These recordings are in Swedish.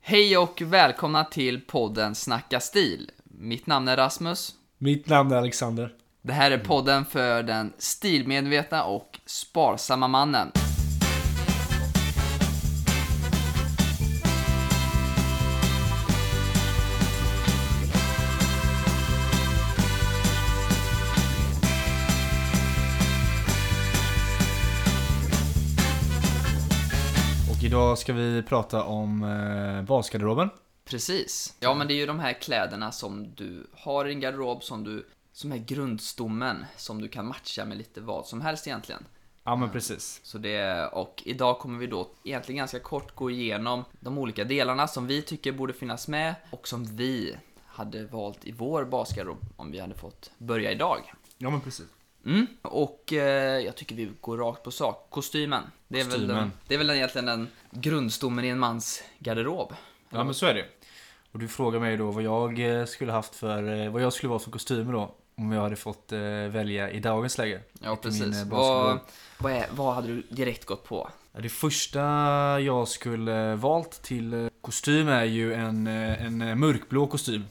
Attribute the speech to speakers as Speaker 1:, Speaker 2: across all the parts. Speaker 1: Hej och välkomna till podden Snacka stil. Mitt namn är Rasmus.
Speaker 2: Mitt namn är Alexander.
Speaker 1: Det här är podden för den stilmedvetna och sparsamma mannen.
Speaker 3: Och idag ska vi prata om eh, basgarderoben.
Speaker 1: Precis. Ja, men det är ju de här kläderna som du har i din garderob som du som är grundstommen som du kan matcha med lite vad som helst egentligen.
Speaker 3: Ja men precis.
Speaker 1: Så det, och idag kommer vi då egentligen ganska kort gå igenom de olika delarna som vi tycker borde finnas med och som vi hade valt i vår basgarderob om vi hade fått börja idag.
Speaker 3: Ja men precis.
Speaker 1: Mm. Och eh, jag tycker vi går rakt på sak. Kostymen. Det är, Väl, den-
Speaker 3: Kostymen.
Speaker 1: det är väl egentligen den grundstommen i en mans garderob.
Speaker 3: Ja men så är det. Och du frågar mig då vad jag eh, skulle haft för, eh, vad jag skulle vara för kostymer då. Om jag hade fått eh, välja i dagens läge.
Speaker 1: Ja,
Speaker 3: Till min,
Speaker 1: precis. Vad,
Speaker 3: eh, basgarderob.
Speaker 1: vad, är, vad hade du direkt gått på?
Speaker 3: Ja, Det första jag skulle eh, valt till eh, kostym är ju en, eh, en eh, mörkblå kostym.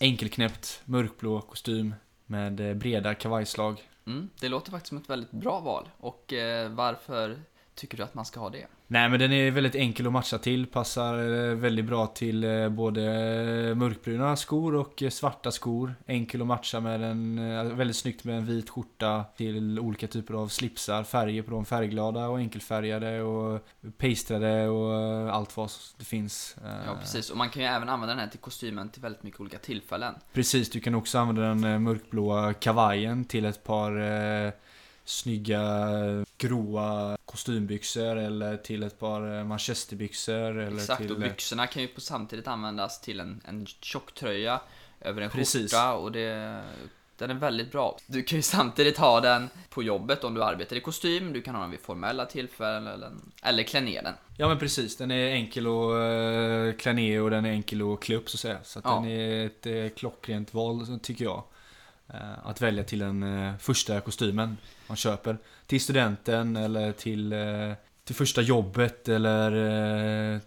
Speaker 3: Enkelknäppt mörkblå kostym med eh, breda kavajslag.
Speaker 1: Mm. Det låter faktiskt som ett väldigt bra val. Och eh, varför tycker du att man ska ha det?
Speaker 3: Nej men den är väldigt enkel att matcha till, passar eh, väldigt bra till eh, både eh, mörkbruna skor och eh, svarta skor. Enkel att matcha med en, eh, väldigt snyggt med en vit skjorta till olika typer av slipsar, färger på dem, färgglada och enkelfärgade och pastrade och eh, allt vad det finns. Eh,
Speaker 1: Ja, precis. Och man kan ju även använda den här till kostymen till väldigt mycket olika tillfällen.
Speaker 3: Precis, du kan också använda den eh, mörkblåa kavajen till ett par eh, snygga eh, gråa kostymbyxor eller till ett par eh, manchesterbyxor. Eller
Speaker 1: Exakt,
Speaker 3: till,
Speaker 1: och
Speaker 3: eh,
Speaker 1: byxorna kan ju på samtidigt användas till en, en tjocktröja över en
Speaker 3: Precis.
Speaker 1: skjorta och det, den är väldigt bra. Du kan ju samtidigt ha den på jobbet om du arbetar i kostym, du kan ha den vid formella tillfällen eller klä ner den.
Speaker 3: Ja men precis, den är enkel att eh, klä ner och den är enkel att klä upp så att säga. Så att
Speaker 1: Ja.
Speaker 3: den är ett eh, klockrent val så tycker jag. Eh, Att välja till den eh, första kostymen man köper. Till studenten eller till, eh, till första jobbet eller eh,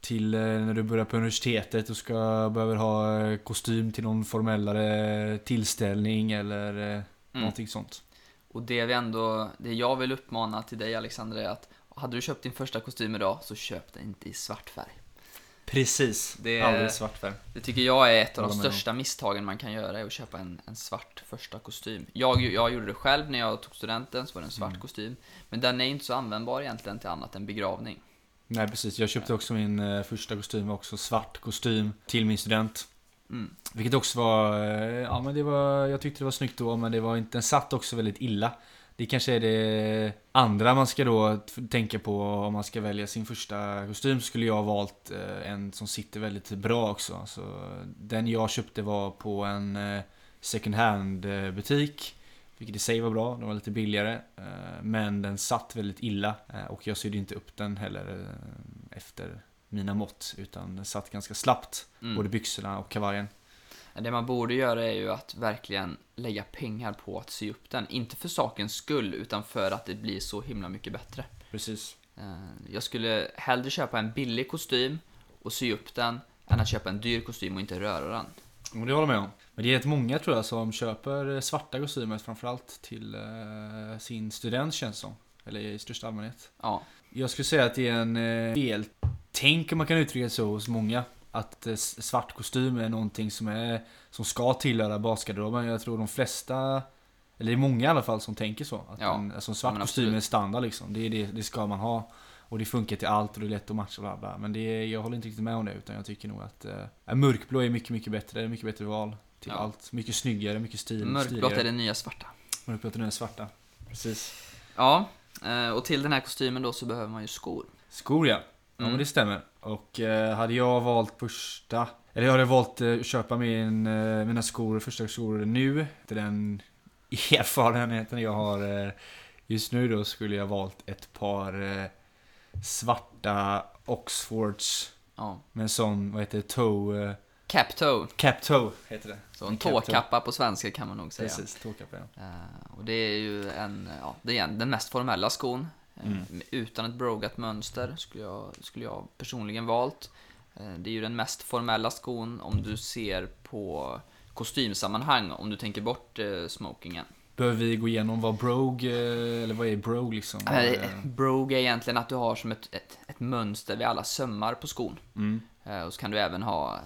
Speaker 3: till eh, när du börjar på universitetet och ska behöver ha eh, kostym till någon formellare tillställning eller mm.
Speaker 1: Mm.
Speaker 3: någonting sånt.
Speaker 1: Och det vi ändå, det jag vill uppmana till dig Alexander är att hade du köpt din första kostym idag så köp den inte i svart färg.
Speaker 3: Precis,
Speaker 1: Det-
Speaker 3: aldrig svart färg.
Speaker 1: Det tycker jag är ett av de
Speaker 3: Håller med om.
Speaker 1: största misstagen man kan göra, är att köpa en, en svart första kostym. Jag, jag gjorde det själv när jag tog studenten, så var det en svart
Speaker 3: Mm.
Speaker 1: kostym. Men den är inte så användbar egentligen till annat än begravning.
Speaker 3: Nej precis, jag köpte också min eh, första kostym, också svart kostym till min student.
Speaker 1: Mm.
Speaker 3: Vilket också var, eh, ja men det var, jag tyckte det var snyggt då men det var inte, den satt också väldigt illa. Det kanske är det andra man ska då t- tänka på om man ska välja sin första kostym så skulle jag ha valt eh, en som sitter väldigt bra också. Så den jag köpte var på en eh, second hand eh, butik. Vilket i sig var bra, den var lite billigare. eh, Men den satt väldigt illa eh, och jag sydde inte upp den heller eh, efter mina mått. Utan den satt ganska slappt,
Speaker 1: Mm.
Speaker 3: både byxorna och kavajen.
Speaker 1: Det man borde göra är ju att verkligen lägga pengar på att sy upp den. Inte för sakens skull, utan för att det blir så himla mycket bättre.
Speaker 3: Precis.
Speaker 1: Eh, Jag skulle hellre köpa en billig kostym och sy upp den, än att köpa en dyr kostym och inte röra den.
Speaker 3: Och det håller jag med om. Men det är rätt många tror jag som köper eh, svarta kostymer framförallt till eh, sin student känns det som. Eller i största allmänhet.
Speaker 1: Ja,
Speaker 3: Jag skulle säga att det är en eh, fel tänk om man kan uttrycka det så hos många. Att eh, s- svart kostym är någonting som, är, som ska tillhöra basgarderoben. Jag tror de flesta, eller det är många i alla fall som tänker så. Att
Speaker 1: Ja,
Speaker 3: en, alltså en
Speaker 1: ja,
Speaker 3: svart
Speaker 1: men
Speaker 3: kostym är
Speaker 1: absolut.
Speaker 3: standard liksom. Det, är det, det ska man ha. Och det funkar till allt och det är lätt att matcha bla bla. Men det, är- jag håller inte riktigt med om det utan jag tycker nog att eh, mörkblå är mycket, mycket bättre. Mycket bättre val till
Speaker 1: Ja.
Speaker 3: allt. Mycket snyggare, mycket stil,
Speaker 1: mörkblått är
Speaker 3: stiligare.
Speaker 1: det nya svarta.
Speaker 3: Mörkblått är den svarta. Precis.
Speaker 1: Ja, eh, och till den här kostymen då så behöver man ju skor.
Speaker 3: Skor ja. Ja
Speaker 1: Mm.
Speaker 3: men det stämmer. Och eh, hade jag valt första... Eller jag hade valt eh, att köpa min, eh, mina skor, första skor nu. Till den erfarenheten jag har eh, just nu då skulle jag valt ett par eh, svarta Oxfords
Speaker 1: Ja.
Speaker 3: med en sån, vad heter det, toe... Eh,
Speaker 1: Captone,
Speaker 3: cap toe heter det.
Speaker 1: så en
Speaker 3: En captone.
Speaker 1: tåkappa på svenska kan man nog säga.
Speaker 3: Precis, tåkappa ja.
Speaker 1: Eh, och det är ju en, ja, det är en- den mest formella skon. eh,
Speaker 3: Mm.
Speaker 1: Utan ett brogat mönster skulle jag, skulle jag personligen valt. Eh, Det är ju den mest formella skon om du ser på kostymsammanhang, om du tänker bort eh, smokingen.
Speaker 3: Behöver vi gå igenom vad brogue, eh, eller vad är brogue liksom?
Speaker 1: Eh,
Speaker 3: Eh,
Speaker 1: Brogue är egentligen att du har som ett, ett, ett mönster vid alla sömmar på skon.
Speaker 3: Mm.
Speaker 1: Eh, Och så kan du även ha eh,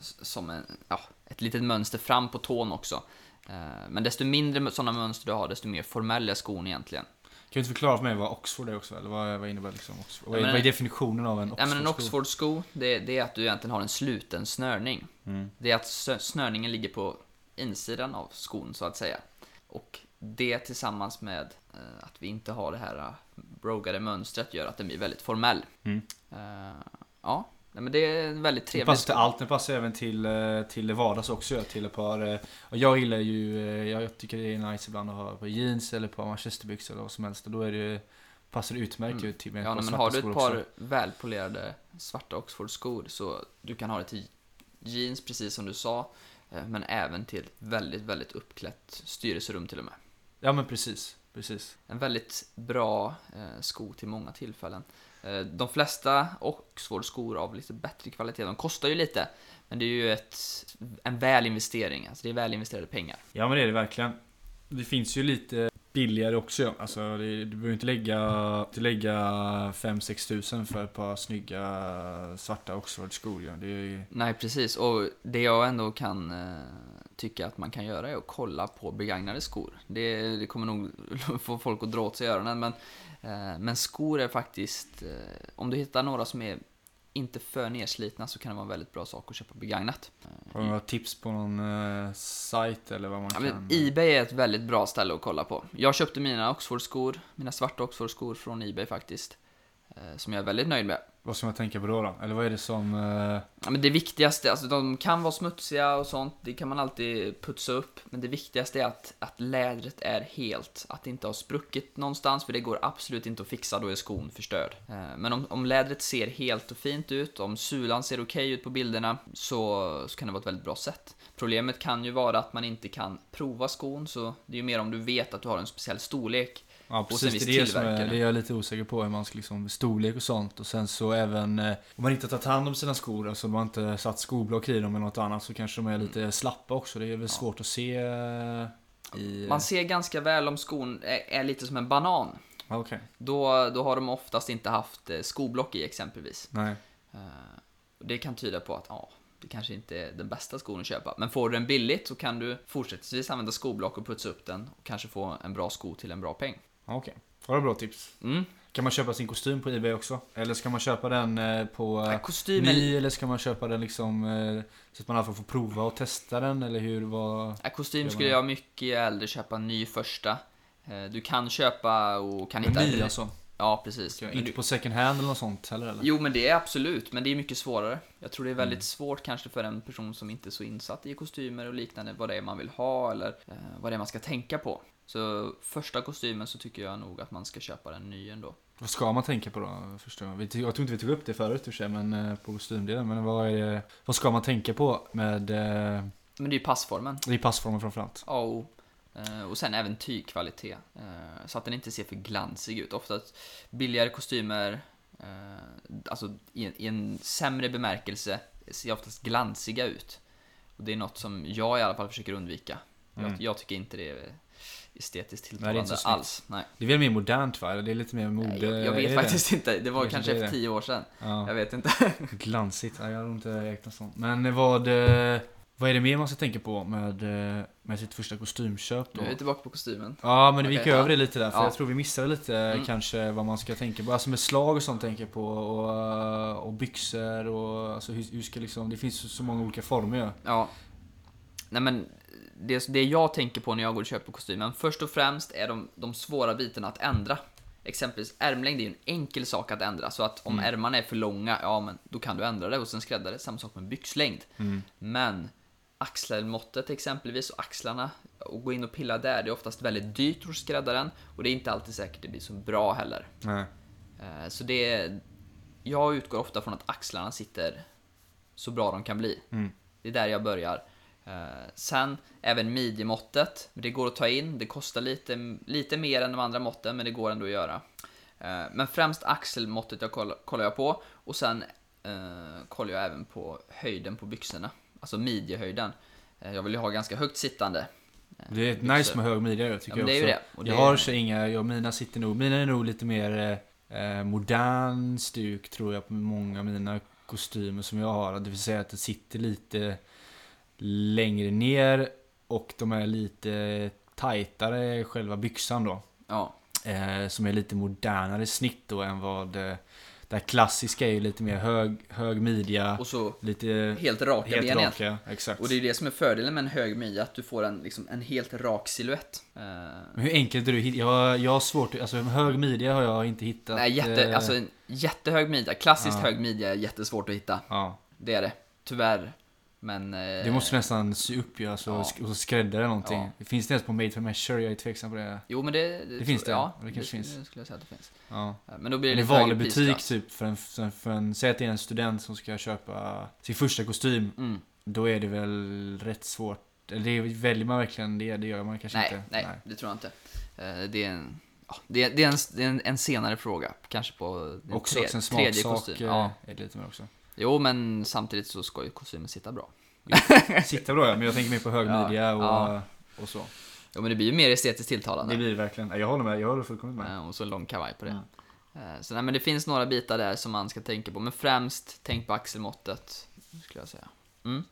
Speaker 1: s- som en, ja, ett litet mönster fram på tån också. Eh, Men desto mindre sådana mönster du har, desto mer formell är skon egentligen.
Speaker 3: Kan du inte förklara för mig vad Oxford är också? Eller vad, vad innebär liksom Oxford? Vad är,
Speaker 1: Ja, men-
Speaker 3: vad är definitionen av en
Speaker 1: Ja,
Speaker 3: Oxford?
Speaker 1: men en Oxford-sko, det, det är att du egentligen har en sluten snörning.
Speaker 3: Mm.
Speaker 1: Det är att sö- snörningen ligger på insidan av skon så att säga. Och det tillsammans med eh, att vi inte har det här eh, brogade mönstret gör att den blir väldigt formell.
Speaker 3: Mm.
Speaker 1: Eh, ja, nej, men det är en väldigt
Speaker 3: Det
Speaker 1: trevlig
Speaker 3: passar till
Speaker 1: sko.
Speaker 3: allt, det passar även till, eh, till vardags också. ja, Till ett par, eh, och jag gillar ju, eh, jag tycker det är nice ibland att ha på jeans eller på manchesterbyxor eller vad som helst. Och då är det, ju- passar det utmärkt
Speaker 1: Mm.
Speaker 3: ju till med
Speaker 1: Ja,
Speaker 3: par
Speaker 1: nej, men
Speaker 3: svarta
Speaker 1: har du
Speaker 3: skor
Speaker 1: ett
Speaker 3: också.
Speaker 1: par välpolerade svarta Oxford-skor så du kan ha det till jeans precis som du sa. eh, Men även till väldigt, väldigt uppklätt styrelserum till och med.
Speaker 3: Ja men precis, precis.
Speaker 1: En väldigt bra eh, sko till många tillfällen. Eh, de flesta Oxford-skor av lite bättre kvalitet, de kostar ju lite. Men det är ju ett, en väl investering, alltså det är väl investerade pengar.
Speaker 3: Ja men det är det verkligen. Det finns ju lite billigare också. ja. Alltså, det, du behöver inte lägga, inte lägga 5-6 tusen för ett par snygga svarta Oxford-skor. Ja. Det är ju,
Speaker 1: Nej precis, och det jag ändå kan eh, tycka att man kan göra är att kolla på begagnade skor. Det, det kommer nog få folk att dra åt sig öronen men, eh, men skor är faktiskt, eh, om du hittar några som är inte för nerslitna så kan det vara en väldigt bra sak att köpa begagnat.
Speaker 3: har du några tips på någon eh, sajt eller vad man
Speaker 1: Ja,
Speaker 3: kan...
Speaker 1: men Ebay är ett väldigt bra ställe att kolla på. Jag köpte mina Oxford-skor, mina svarta Oxford-skor från Ebay faktiskt. eh, Som jag är väldigt nöjd med.
Speaker 3: Vad ska man tänka på då? då? Eller vad är det som... eh,
Speaker 1: Ja, men det viktigaste, alltså de kan vara smutsiga och sånt, det kan man alltid putsa upp. Men det viktigaste är att, att lädret är helt, att det inte har spruckit någonstans, för det går absolut inte att fixa, då är skon förstörd. Eh, Men om, om lädret ser helt och fint ut, om sulan ser okej ut på bilderna, så, så kan det vara ett väldigt bra sätt. Problemet kan ju vara att man inte kan prova skon, så det är ju mer om du vet att du har en speciell storlek.
Speaker 3: Ja
Speaker 1: Hos en
Speaker 3: precis,
Speaker 1: viss
Speaker 3: det är, det, som är,
Speaker 1: tillverkare.
Speaker 3: det är jag lite osäker på. Hur man ska liksom, storlek och sånt. Och sen så även eh, om man inte har tagit hand om sina skor. Alltså om man inte satt skoblock i dem eller något annat. Så kanske de är lite
Speaker 1: Mm.
Speaker 3: slappa också. Det är väl svårt att se eh, i...
Speaker 1: Man ser ganska väl om skon är, är lite som en banan.
Speaker 3: Ja, Okej,
Speaker 1: Då, då har de oftast inte haft eh, skoblock i exempelvis.
Speaker 3: nej.
Speaker 1: Eh, och Det kan tyda på att ja, det kanske inte är den bästa skon att köpa. Men får du den billigt så kan du fortsättningsvis använda skoblock och putsa upp den och kanske få en bra sko till en bra peng.
Speaker 3: Ja, Okej, det var bra tips.
Speaker 1: Mm.
Speaker 3: Kan man köpa sin kostym på Ebay också? Eller ska man köpa den eh, på
Speaker 1: Ja,
Speaker 3: eh,
Speaker 1: kostymen,
Speaker 3: ny? Eller ska man köpa den liksom eh, så att man i alla fall får prova och testa den? Eller hur? Vad...
Speaker 1: ja, Äh, kostym
Speaker 3: gör
Speaker 1: skulle
Speaker 3: man-
Speaker 1: jag mycket hellre köpa en ny första. Eh, Du kan köpa och kan hitta...
Speaker 3: Ny alltså?
Speaker 1: Ja, precis. Men
Speaker 3: Inte på second hand eller något sånt heller eller?
Speaker 1: Jo men det är absolut, men det är mycket svårare. Jag tror det är väldigt svårt kanske för en person som inte är så insatt i kostymer och liknande, vad det är man vill ha eller eh, vad det är man ska tänka på. Så första kostymen så tycker jag nog att man ska köpa den ny ändå.
Speaker 3: Vad ska man tänka på då? Förstår jag. Vi, jag tror inte vi tog upp det förut i och för sig, men eh, på kostymdelen. Men vad, är det, vad ska man tänka på med eh,
Speaker 1: Men det är ju passformen,
Speaker 3: i passformen framförallt?
Speaker 1: A och O. Eh, Och sen även tygkvalitet, eh, så att den inte ser för glansig ut. Ofta att billigare kostymer, eh, alltså i en, i en sämre bemärkelse, ser oftast glansiga ut. Och det är något som jag i alla fall försöker undvika. Jag,
Speaker 3: Mm.
Speaker 1: jag tycker inte det är estetiskt
Speaker 3: det är
Speaker 1: tilltalande
Speaker 3: inte så snyggt.
Speaker 1: alls. Nej.
Speaker 3: Det är väl mer modernt va? Eller Det är lite mer mode...
Speaker 1: Nej, jag, jag vet
Speaker 3: är det?
Speaker 1: faktiskt inte, det var
Speaker 3: Kanske
Speaker 1: kanske
Speaker 3: det är
Speaker 1: för
Speaker 3: det.
Speaker 1: tio år sedan. Jag
Speaker 3: Ja,
Speaker 1: vet inte.
Speaker 3: glansigt. Ja, jag har nog inte ägt en sån. Men vad, eh, vad är det mer man ska tänka på med, eh, med sitt första kostymköp då?
Speaker 1: Nu är vi tillbaka på kostymen.
Speaker 3: Ja men vi gick
Speaker 1: Okej,
Speaker 3: över
Speaker 1: ja.
Speaker 3: det lite där för
Speaker 1: Ja.
Speaker 3: jag tror vi missade lite eh,
Speaker 1: Mm.
Speaker 3: kanske vad man ska tänka på. Alltså med slag och sånt tänker jag på och, och byxor och alltså hur, hur ska liksom, det finns ju så många olika former ju.
Speaker 1: Ja. Nej men, det, det jag tänker på när jag går och köper kostymen, först och främst är de, de svåra bitarna att ändra. Exempelvis ärmlängd är ju en enkel sak att ändra, så att om ärmarna är för långa, ja men då kan du ändra det och sen skräddar det. Samma sak med byxlängd. Men axelmåttet exempelvis och axlarna, och gå in och pilla där, det är oftast väldigt dyrt hos skräddaren och det är inte alltid säkert det blir så bra heller.
Speaker 3: Nej.
Speaker 1: Eh, Så det är, jag utgår ofta från att axlarna sitter så bra de kan bli.
Speaker 3: Mm.
Speaker 1: Det är där jag börjar. Eh, Sen även midjemåttet, men det går att ta in, det kostar lite, lite mer än de andra måtten men det går ändå att göra. Eh, Men främst axelmåttet jag koll- kollar jag på och sen eh, eh, kollar jag även på höjden på byxorna. Alltså midjehöjden. Eh, jag vill ju ha ganska högt sittande.
Speaker 3: Det är ett
Speaker 1: Byxor.
Speaker 3: nice med hög midja jag
Speaker 1: Ja,
Speaker 3: tycker
Speaker 1: men det är
Speaker 3: jag
Speaker 1: ju
Speaker 3: också.
Speaker 1: det. Och det
Speaker 3: Jag har så inga, jag, mina sitter nog, mina är nog lite mer eh, modern stuk tror jag på många av mina kostymer som jag har. Det vill säga att det sitter lite längre ner och de är lite tajtare själva byxan då.
Speaker 1: ja,
Speaker 3: Eh, som är lite modernare snitt då än vad eh, det här klassiska är ju lite mer hög, hög midja,
Speaker 1: och så
Speaker 3: lite
Speaker 1: helt raka ben
Speaker 3: helt
Speaker 1: egentligen.
Speaker 3: raka. Exakt.
Speaker 1: Och det är ju det som är fördelen med en hög midja, att du får en, liksom, en helt rak siluett. Eh,
Speaker 3: Men hur enkelt är du Jag, jag har svårt, alltså en hög midja har jag inte hittat.
Speaker 1: nej, jätte,
Speaker 3: eh,
Speaker 1: alltså en jättehög midja. Klassiskt
Speaker 3: Ja.
Speaker 1: hög midja är jättesvårt att hitta.
Speaker 3: ja.
Speaker 1: Det är det. Tyvärr. Men... eh,
Speaker 3: Det måste du nästan sy upp ju, alltså,
Speaker 1: Ja.
Speaker 3: sk- och skräddare någonting.
Speaker 1: Ja.
Speaker 3: Det finns det ens på Made for Measure, jag är tveksam på det.
Speaker 1: Jo men det...
Speaker 3: Det finns det,
Speaker 1: Ja,
Speaker 3: det kanske finns.
Speaker 1: Det skulle jag säga att det finns.
Speaker 3: Ja.
Speaker 1: Eh, Men då blir det
Speaker 3: Eller
Speaker 1: lite högre
Speaker 3: vanlig butik
Speaker 1: prisklass.
Speaker 3: typ, för en, för, en, för en, säg att det är en student som ska köpa sin första kostym.
Speaker 1: Mm.
Speaker 3: Då är det väl rätt svårt. Eller det är- väljer man verkligen det? Det gör man kanske
Speaker 1: Nej,
Speaker 3: inte.
Speaker 1: Mm. nej, det tror jag inte. Eh, Det är en, ja, det är, det är en, det är en, en senare fråga. Kanske på den
Speaker 3: Också,
Speaker 1: tre-
Speaker 3: också en smaksak.
Speaker 1: kostym.
Speaker 3: eh,
Speaker 1: Ja.
Speaker 3: är det lite mer också.
Speaker 1: Jo, men samtidigt så ska ju kostymen sitta bra.
Speaker 3: Sitta bra ja, men jag tänker mer på hög
Speaker 1: Ja.
Speaker 3: midja och,
Speaker 1: Ja.
Speaker 3: och så.
Speaker 1: Jo, men det blir ju mer estetiskt
Speaker 3: Det
Speaker 1: tilltalande.
Speaker 3: blir det verkligen. Nej, Jag håller med, jag håller fullkomligt med.
Speaker 1: Eh, Och så en lång kavaj på det. Eh, Så nej, men det finns några bitar där som man ska tänka på. Men främst, tänk på axelmåttet. Skulle jag säga. Mm.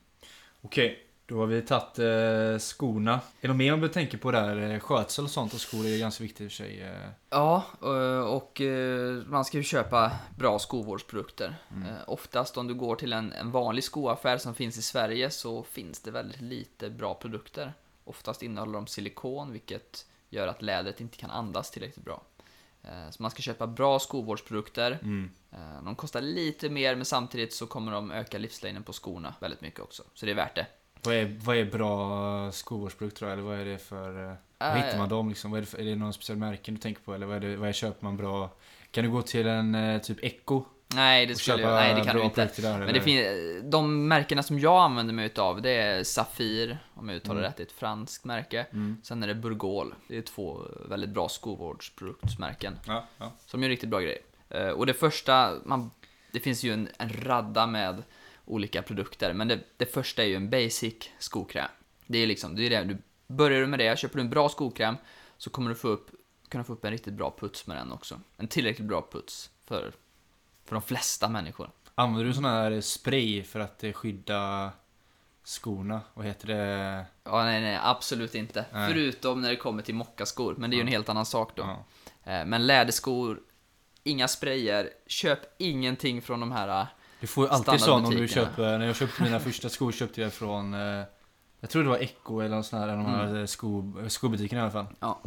Speaker 3: Okej, då har vi tagit eh, skorna. Är det något mer man behöver tänka på där? Eh, Skötsel och sånt och skor är ju ganska viktigt i och för sig. Eh,
Speaker 1: Ja, eh, och eh, man ska ju köpa bra skovårdsprodukter. Eh, Oftast om du går till en, en vanlig skoaffär som finns i Sverige så finns det väldigt lite bra produkter. Oftast innehåller de silikon vilket gör att lädret inte kan andas tillräckligt bra. Eh, Så man ska köpa bra skovårdsprodukter. Eh, De kostar lite mer men samtidigt så kommer de öka livslängden på skorna väldigt mycket också. Så det är värt det.
Speaker 3: Vad, är, vad är bra eh, skovårdsprodukter då? Eller vad är det för... Eh,
Speaker 1: Eh,
Speaker 3: vad hittar man dem liksom? Vad är, det för, är det någon speciell märken du tänker på? Eller vad, är det, vad är, köper man bra? Kan du gå till en eh, typ Echo?
Speaker 1: Nej, det,
Speaker 3: och
Speaker 1: skulle
Speaker 3: köpa
Speaker 1: jag, nej, det kan
Speaker 3: bra
Speaker 1: du inte.
Speaker 3: produkter där?
Speaker 1: Men
Speaker 3: eller?
Speaker 1: det finns, de märkena som jag använder mig utav det är Safir, om jag uttalar
Speaker 3: Mm.
Speaker 1: rätt, det är ett franskt märke.
Speaker 3: Mm.
Speaker 1: Sen är det Burgol. Det är två väldigt bra skovårdsproduktsmärken
Speaker 3: Ja, ja.
Speaker 1: som gör riktigt bra grejer. Eh, Och det första, man, det finns ju en, en radda med olika produkter, men det, det första är ju en basic skokräm. Det är liksom, det är det, du, börjar du med det, köper du en bra skokräm så kommer du få upp, kunna få upp en riktigt bra puts med den också. En tillräckligt bra puts för, för de flesta människor.
Speaker 3: Använder du sån här spray för att eh, skydda skorna? Vad heter det?
Speaker 1: Ja, nej, nej, absolut inte.
Speaker 3: Nej.
Speaker 1: Förutom när det kommer till mockaskor, men det är ju en helt annan sak då.
Speaker 3: Ja.
Speaker 1: Eh, Men läderskor, inga sprayer, köp ingenting från de här... eh,
Speaker 3: Du får ju alltid sån om du
Speaker 1: Standardbutikerna.
Speaker 3: köper, när jag köpte mina första skor köpte jag från eh, Jag tror det var Echo eller någon sån här, de här
Speaker 1: Mm.
Speaker 3: eh, sko, skobutikerna i alla fall
Speaker 1: Ja.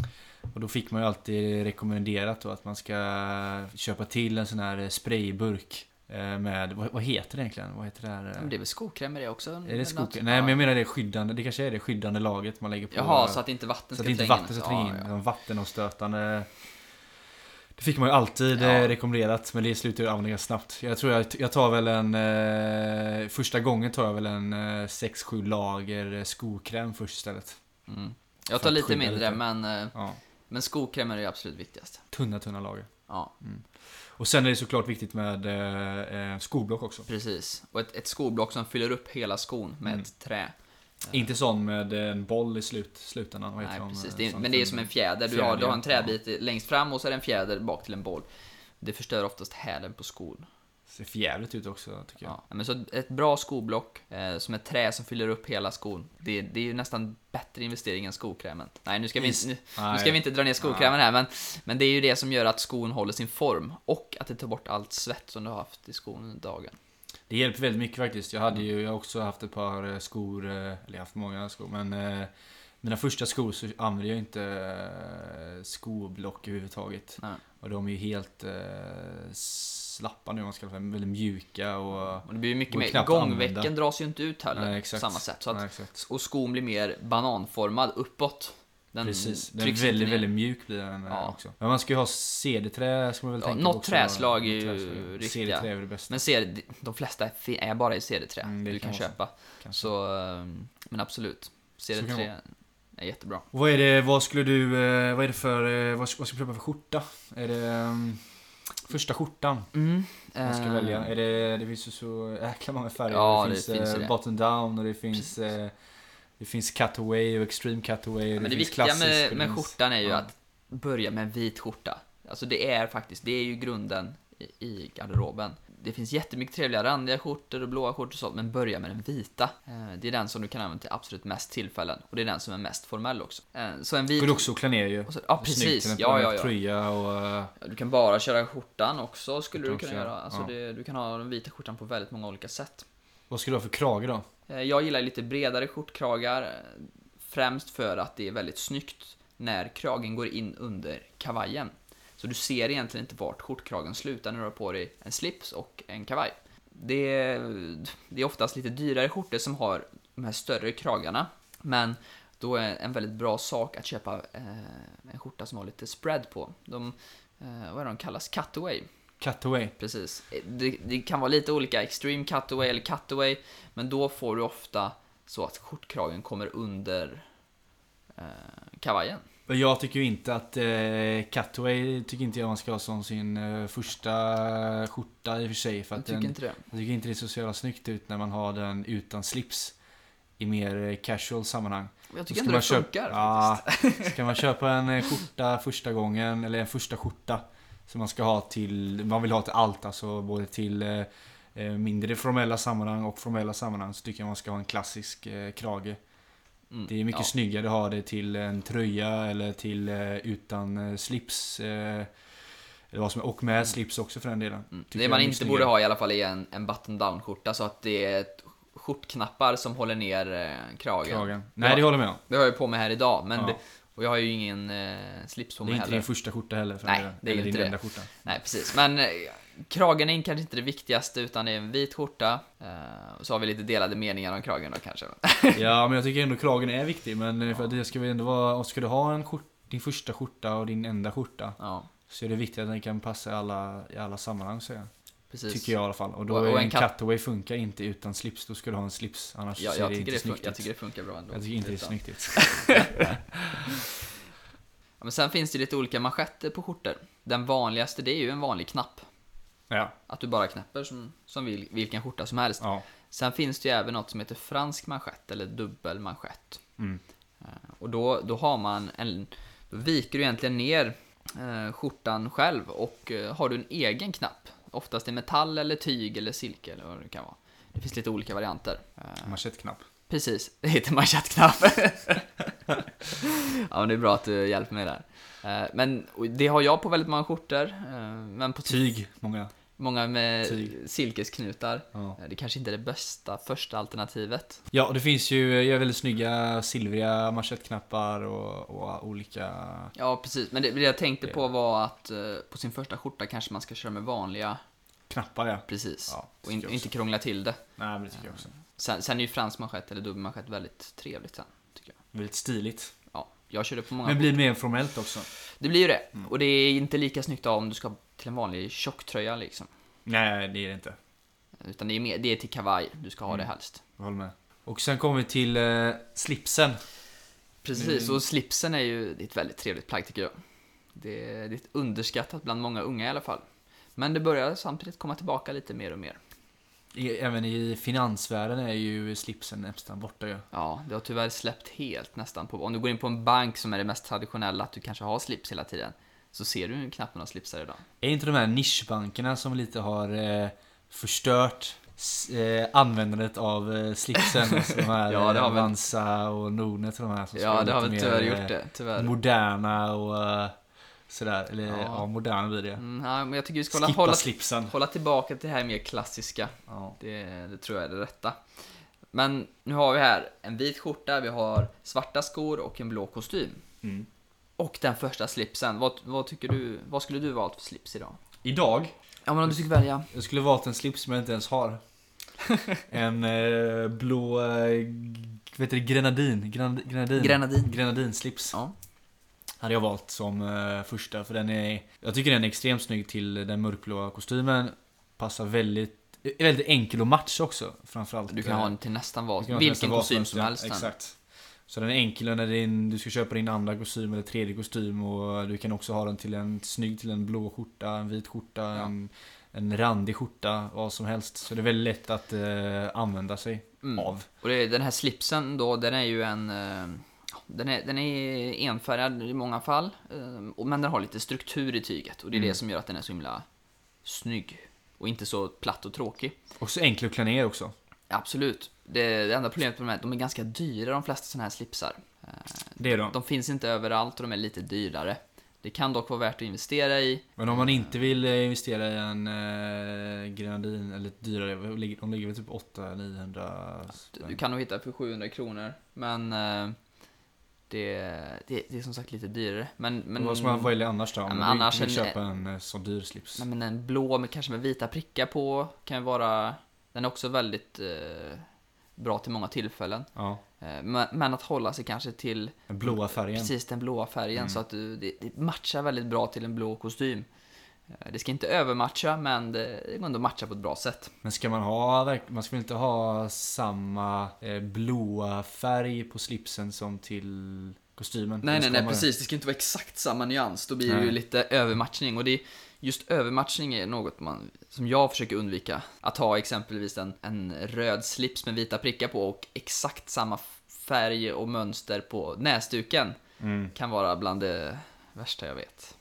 Speaker 3: Och då fick man ju alltid rekommenderat då att man ska köpa till en sån här eh, sprayburk eh, Med, vad, vad heter det egentligen? Vad heter det här? eh?
Speaker 1: Men det är väl skokrämer det också?
Speaker 3: är det
Speaker 1: något?
Speaker 3: skog?
Speaker 1: Ja.
Speaker 3: Nej men jag menar det skyddande, det kanske är det skyddande laget man lägger på
Speaker 1: Jaha,
Speaker 3: eh,
Speaker 1: så att inte vatten ska
Speaker 3: så att inte
Speaker 1: tränga in.
Speaker 3: vatten ska tränga in,
Speaker 1: Ja, ja.
Speaker 3: de vattenomstötande Det fick man ju alltid
Speaker 1: Ja.
Speaker 3: eh, rekommenderat men det slutar ju använda ganska snabbt Jag tror jag, jag tar väl en eh, Första gången tar jag väl en eh, 6-7 lager eh, skokräm först istället
Speaker 1: Mm.
Speaker 3: För
Speaker 1: Jag tar
Speaker 3: att
Speaker 1: lite
Speaker 3: skydda
Speaker 1: mindre,
Speaker 3: lite.
Speaker 1: men, eh,
Speaker 3: ja.
Speaker 1: men skokrämer är det absolut viktigast.
Speaker 3: Tunna tunna lager
Speaker 1: Ja,
Speaker 3: Mm. Och sen är det såklart viktigt med eh, eh, skoblock också
Speaker 1: precis. Och ett, ett skoblock som fyller upp hela skon med
Speaker 3: Mm.
Speaker 1: ett trä.
Speaker 3: Inte sån med en boll i slut, slutändan vad
Speaker 1: Nej,
Speaker 3: heter de?
Speaker 1: precis. Det är,
Speaker 3: Sån
Speaker 1: men det är som en fjäder. Du har,
Speaker 3: eh, fjäder,
Speaker 1: du har en
Speaker 3: ja.
Speaker 1: träbit i- längst fram och så är det en fjäder bak till en boll. Det förstör oftast hälen på skon.
Speaker 3: Ser förjävligt ut också tycker jag
Speaker 1: Ja. Men så ett bra skoblock eh, som ett trä som fyller upp hela skon. Det, det är ju nästan bättre investering än skokrämen. Nej, nu ska vi,
Speaker 3: Is-
Speaker 1: inte- nu, nu
Speaker 3: Nej.
Speaker 1: ska vi inte dra ner skokrämen här, men, men det är ju det som gör att skon håller sin form och att det tar bort allt svett som du har haft i skon under dagen.
Speaker 3: Det hjälper väldigt mycket faktiskt. Jag hade ju jag har också haft ett par eh, skor, eh, eller jag har haft många skor, men eh, mina första skor så använde jag inte eh, skoblock överhuvudtaget.
Speaker 1: Nej.
Speaker 3: Och de är ju helt eh, slappa nu om man ska kalla det, för, väldigt mjuka och...
Speaker 1: Och det blir ju mycket
Speaker 3: Går
Speaker 1: mer,
Speaker 3: knappt att använda.
Speaker 1: gångvecken dras ju inte ut heller
Speaker 3: Nej,
Speaker 1: på
Speaker 3: exakt.
Speaker 1: samma sätt. Så
Speaker 3: Nej,
Speaker 1: att,
Speaker 3: exakt.
Speaker 1: och skon blir mer bananformad uppåt. Den
Speaker 3: Precis, den är
Speaker 1: trycks inte
Speaker 3: väldigt,
Speaker 1: ner.
Speaker 3: väldigt mjuk blir den eh,
Speaker 1: Ja.
Speaker 3: också. Men man ska ju ha CD-trä ska man väl
Speaker 1: Ja,
Speaker 3: tänka
Speaker 1: något
Speaker 3: på också.
Speaker 1: träslag är ju
Speaker 3: Något träslag.
Speaker 1: riktiga.
Speaker 3: CD-trä är väl det bästa.
Speaker 1: Men CD, de flesta är fi- är bara i CD-trä
Speaker 3: Mm, det
Speaker 1: du
Speaker 3: kan
Speaker 1: kan
Speaker 3: vara så.
Speaker 1: köpa.
Speaker 3: kanske.
Speaker 1: Så, eh, men absolut.
Speaker 3: Så kan det
Speaker 1: CD3 är jättebra.
Speaker 3: Och Vad är det, vad skulle du, eh, vad är det för, eh, vad, vad ska du köpa för skjorta? Är det... ehm, Första skjortan
Speaker 1: Mm.
Speaker 3: man ska
Speaker 1: eh,
Speaker 3: välja. Är det, det finns ju så jäkla många färger.
Speaker 1: Ja,
Speaker 3: det
Speaker 1: det
Speaker 3: finns,
Speaker 1: finns ju
Speaker 3: eh,
Speaker 1: det.
Speaker 3: bottom down och det finns, eh, det finns cutaway och extreme cutaway.
Speaker 1: Men det,
Speaker 3: finns
Speaker 1: viktiga
Speaker 3: klassisk och
Speaker 1: med,
Speaker 3: det
Speaker 1: med
Speaker 3: finns-
Speaker 1: skjortan är ju
Speaker 3: ja.
Speaker 1: att börja med en vit skjorta. Alltså det är faktiskt, det är ju grunden i, i garderoben. Det finns jättemycket trevliga randiga skjortor och blåa skjortor och sånt, men börja med den vita. Eh, Det är den som du kan använda till absolut mest tillfällen och det är den som är mest formell också. Eh, Så en vit...
Speaker 3: Går det också att klä ner ju.
Speaker 1: och så- ja,
Speaker 3: Snyggt,
Speaker 1: precis.
Speaker 3: en
Speaker 1: Ja, ja, ja.
Speaker 3: Tröja och... eh,
Speaker 1: Du kan bara köra skjortan också, skulle
Speaker 3: Skjortan
Speaker 1: du kunna
Speaker 3: också,
Speaker 1: göra. Alltså
Speaker 3: ja.
Speaker 1: det, du kan ha den vita skjortan på väldigt många olika sätt.
Speaker 3: Vad ska du ha för krage då?
Speaker 1: Eh, Jag gillar lite bredare skjortkragar. eh, Främst för att det är väldigt snyggt när kragen går in under kavajen. Så du ser egentligen inte vart skjortkragen slutar när du har på dig en slips och en kavaj. Det är, det är oftast lite dyrare skjortor som har de här större kragarna. Men då är en väldigt bra sak att köpa eh, en skjorta som har lite spread på. De, eh, vad är de kallas? Cutaway.
Speaker 3: Cutaway.
Speaker 1: Precis. Det, det kan vara lite olika, extreme cutaway eller cutaway, men då får du ofta så att skjortkragen kommer under eh, kavajen.
Speaker 3: Och Jag tycker ju inte att eh, cutaway tycker inte jag man ska ha som sin eh, första skjorta i och för sig. För
Speaker 1: Jag
Speaker 3: att
Speaker 1: tycker
Speaker 3: den,
Speaker 1: inte det.
Speaker 3: jag tycker inte det ser så jävla snyggt ut när man har den utan slips. I mer eh, casual sammanhang.
Speaker 1: Jag
Speaker 3: Då
Speaker 1: tycker
Speaker 3: ska
Speaker 1: ändå
Speaker 3: man
Speaker 1: det
Speaker 3: köpa-
Speaker 1: funkar
Speaker 3: Ja,
Speaker 1: faktiskt.
Speaker 3: Ska man köpa en eh, skjorta första gången, eller en första skjorta som man ska ha till, man vill ha till allt, alltså både till eh, eh, mindre formella sammanhang och formella sammanhang så tycker jag man ska ha en klassisk eh, krage.
Speaker 1: Mm,
Speaker 3: Det är mycket
Speaker 1: ja.
Speaker 3: snyggare att ha det till en tröja eller till eh, utan eh, slips. Eh, eller vad som, och med slips också för den delen.
Speaker 1: Mm.
Speaker 3: Tycker
Speaker 1: Det
Speaker 3: jag
Speaker 1: man
Speaker 3: är
Speaker 1: inte
Speaker 3: snyggare.
Speaker 1: borde ha i alla fall är en, en button down skjorta så att det är ett skjortknappar som håller ner eh, kragen.
Speaker 3: Kragen. Nej,
Speaker 1: Ja.
Speaker 3: det håller jag med om.
Speaker 1: Det har jag på mig här idag, men
Speaker 3: Ja.
Speaker 1: det, och jag har ju ingen eh, slips på
Speaker 3: Det är
Speaker 1: mig
Speaker 3: inte din
Speaker 1: heller.
Speaker 3: första skjorta heller. För
Speaker 1: Nej,
Speaker 3: den delen.
Speaker 1: det är
Speaker 3: Eller
Speaker 1: inte
Speaker 3: din
Speaker 1: det.
Speaker 3: enda skjorta.
Speaker 1: Nej, precis. Men eh, kragen är kanske inte det viktigaste utan det är en vit skjorta. Eh, och så har vi lite delade meningar om kragen då kanske.
Speaker 3: Ja men jag tycker ändå kragen är viktig men eh, för att det ska väl ändå vara, och ska du ha en skjort, din första skjorta och din enda skjorta
Speaker 1: Ja,
Speaker 3: så är det viktigt att den kan passa i alla, i alla sammanhang så jag.
Speaker 1: precis.
Speaker 3: Tycker jag i alla fall. Och då
Speaker 1: Och- och
Speaker 3: är
Speaker 1: en
Speaker 3: en
Speaker 1: cut-
Speaker 3: cutaway funkar inte utan slips, då ska du ha en slips annars
Speaker 1: Ja,
Speaker 3: ser
Speaker 1: jag,
Speaker 3: det
Speaker 1: tycker
Speaker 3: inte
Speaker 1: det fun-
Speaker 3: snyggt
Speaker 1: jag
Speaker 3: ut.
Speaker 1: tycker det funkar bra ändå.
Speaker 3: jag tycker inte det är
Speaker 1: Utan-
Speaker 3: snyggt ut.
Speaker 1: Ja, Men sen finns det lite olika manschetter på skjortor. Den vanligaste det är ju en vanlig knapp.
Speaker 3: Ja,
Speaker 1: Att du bara knäpper som, som vil, vilken skjorta som helst.
Speaker 3: ja.
Speaker 1: Sen finns det ju även något som heter fransk manschett eller dubbel manschett. Eh,
Speaker 3: Mm.
Speaker 1: Och då, då har man en... Då viker du egentligen ner eh, skjortan själv och eh, har du en egen knapp. Oftast i metall eller tyg eller silke eller vad det kan vara. Det finns lite olika varianter. Eh,
Speaker 3: Manschettknapp.
Speaker 1: Precis, det heter manschettknapp. ja, men det är bra att du hjälper mig där. Eh, Men och det har jag på väldigt många skjortor. eh, Men på
Speaker 3: Tyg, många.
Speaker 1: många med
Speaker 3: Tyg.
Speaker 1: silkesknutar.
Speaker 3: Ja.
Speaker 1: Eh, Det kanske inte är det bästa första alternativet.
Speaker 3: Ja, och det finns ju jag är väldigt snygga silvriga manschettknappar och, och olika...
Speaker 1: Ja, precis. Men det, det jag tänkte
Speaker 3: Det-
Speaker 1: på var att eh, på sin första skjorta kanske man ska köra med vanliga,
Speaker 3: Knappar ja.
Speaker 1: precis.
Speaker 3: Ja, det
Speaker 1: och in,
Speaker 3: tycker jag
Speaker 1: inte
Speaker 3: också.
Speaker 1: krångla till det.
Speaker 3: Nej, men det tycker jag också.
Speaker 1: Sen, sen är ju fransk manschett eller dubbelmanschett väldigt trevligt sen, tycker jag.
Speaker 3: Väldigt stiligt.
Speaker 1: Ja, jag körde på många
Speaker 3: Men blir Mm. det mer formellt också?
Speaker 1: Det blir ju det. Och det är inte lika snyggt om du ska till en vanlig tjocktröja liksom.
Speaker 3: Nej, det är det inte.
Speaker 1: Utan det är, mer, det är till kavaj du ska ha
Speaker 3: Mm.
Speaker 1: det helst.
Speaker 3: Jag håller med. Och sen kommer vi till eh, slipsen.
Speaker 1: Precis,
Speaker 3: Mm.
Speaker 1: och slipsen är ju det är ett väldigt trevligt plagg tycker jag. Det är, det är underskattat bland många unga i alla fall. Men det börjar samtidigt komma tillbaka lite mer och mer.
Speaker 3: I, även i finansvärlden är ju slipsen nästan borta ju.
Speaker 1: Ja, det har tyvärr släppt helt nästan. På, om du går in på en bank som är det mest traditionella, att du kanske har slips hela tiden, så ser du ju knappt några slipsar idag.
Speaker 3: Är inte de här nischbankerna som lite har eh, förstört s- eh, användandet av eh, slipsen? alltså de här
Speaker 1: Ja, det har
Speaker 3: eh,
Speaker 1: väl-
Speaker 3: Avanza och Nordnet och de här som ska
Speaker 1: Ja, det har
Speaker 3: lite
Speaker 1: väl
Speaker 3: mer,
Speaker 1: tyvärr
Speaker 3: eh,
Speaker 1: gjort det. Tyvärr.
Speaker 3: Moderna och eh, sådär. Eller ja,
Speaker 1: Ja.
Speaker 3: moderna blir det.
Speaker 1: Mm, nej, men jag tycker vi ska hålla,
Speaker 3: Skippa
Speaker 1: hålla,
Speaker 3: slipsen.
Speaker 1: hålla tillbaka till det här mer klassiska.
Speaker 3: Ja.
Speaker 1: Det, det tror jag är det rätta. Men nu har vi här en vit skjorta, vi har svarta skor och en blå kostym.
Speaker 3: Mm.
Speaker 1: Och den första slipsen. Vad, vad, tycker du, vad skulle du valt för slips idag?
Speaker 3: Idag
Speaker 1: Ja men om du fick välja.
Speaker 3: Jag skulle valt en slips som jag inte ens har. En eh, blå, eh, g- vet du, det, grenadin. Grenad, grenadin.
Speaker 1: Grenadin.
Speaker 3: Grenadinslips.
Speaker 1: Ja.
Speaker 3: Hade jag valt som eh, första för den är, jag tycker den är extremt snygg till den mörkblåa kostymen. Passar väldigt, är väldigt enkel att matcha också framförallt.
Speaker 1: Du kan ha den till nästan
Speaker 3: Eh, Du
Speaker 1: vad,
Speaker 3: kan ha
Speaker 1: vilken
Speaker 3: nästan vad
Speaker 1: kostym
Speaker 3: helst,
Speaker 1: som
Speaker 3: ja,
Speaker 1: helst. sen.
Speaker 3: Exakt. Så den är enkel när din, du ska köpa din andra kostym eller tredje kostym och du kan också ha den till en snygg, till en blå skjorta, en vit skjorta, en, en randig skjorta, vad som helst. Så det är väldigt lätt att eh, använda sig
Speaker 1: Mm.
Speaker 3: av.
Speaker 1: Och det, den här slipsen då, den är ju en... eh, ja, Den är, den är enfärgad i många fall, eh, och- men den har lite struktur i tyget och det är
Speaker 3: Mm.
Speaker 1: det som gör att den är så himla snygg. Och inte så platt och tråkig.
Speaker 3: Och så enkel att klä ner också.
Speaker 1: Absolut. Det, det enda problemet med de här, de är ganska dyra de flesta sådana här slipsar. Eh,
Speaker 3: Det är de.
Speaker 1: De finns inte överallt och de är lite dyrare. Det kan dock vara värt att investera i.
Speaker 3: Men om man inte vill eh, investera i en eh, grenadin eller lite dyrare, vad ligger- de ligger väl typ 800-900
Speaker 1: Du- Du kan nog hitta för 700 kronor, men eh, det, det, det är som sagt lite dyrare. Men, men,
Speaker 3: Men vad ska man välja annars då? Om
Speaker 1: Ja, men
Speaker 3: man vill-
Speaker 1: annars
Speaker 3: vill
Speaker 1: en-
Speaker 3: köpa en eh, sån dyr slips.
Speaker 1: Nej, men en blå med kanske med vita prickar på kan ju vara... Den är också väldigt eh, bra till många tillfällen.
Speaker 3: Ja,
Speaker 1: Eh, men, men att hålla sig kanske till
Speaker 3: den blåa färgen.
Speaker 1: precis den blåa färgen så att du, det, det matchar väldigt bra till en blå kostym. Eh, det ska inte övermatcha, men det, det går ändå att matcha på ett bra sätt.
Speaker 3: Men ska man ha, verk- man ska väl inte ha samma eh, blåa färg på slipsen som till kostymen?
Speaker 1: Nej, nej,
Speaker 3: Eller ska
Speaker 1: nej,
Speaker 3: man-
Speaker 1: precis. Det ska inte vara exakt samma nyans. Då blir det
Speaker 3: Nej.
Speaker 1: ju lite övermatchning. Och det är, just övermatchning är något man, som jag försöker undvika. Att ha exempelvis en, en röd slips med vita prickar på och exakt samma f- färg och mönster på näsduken
Speaker 3: Mm,
Speaker 1: kan vara bland det värsta jag vet.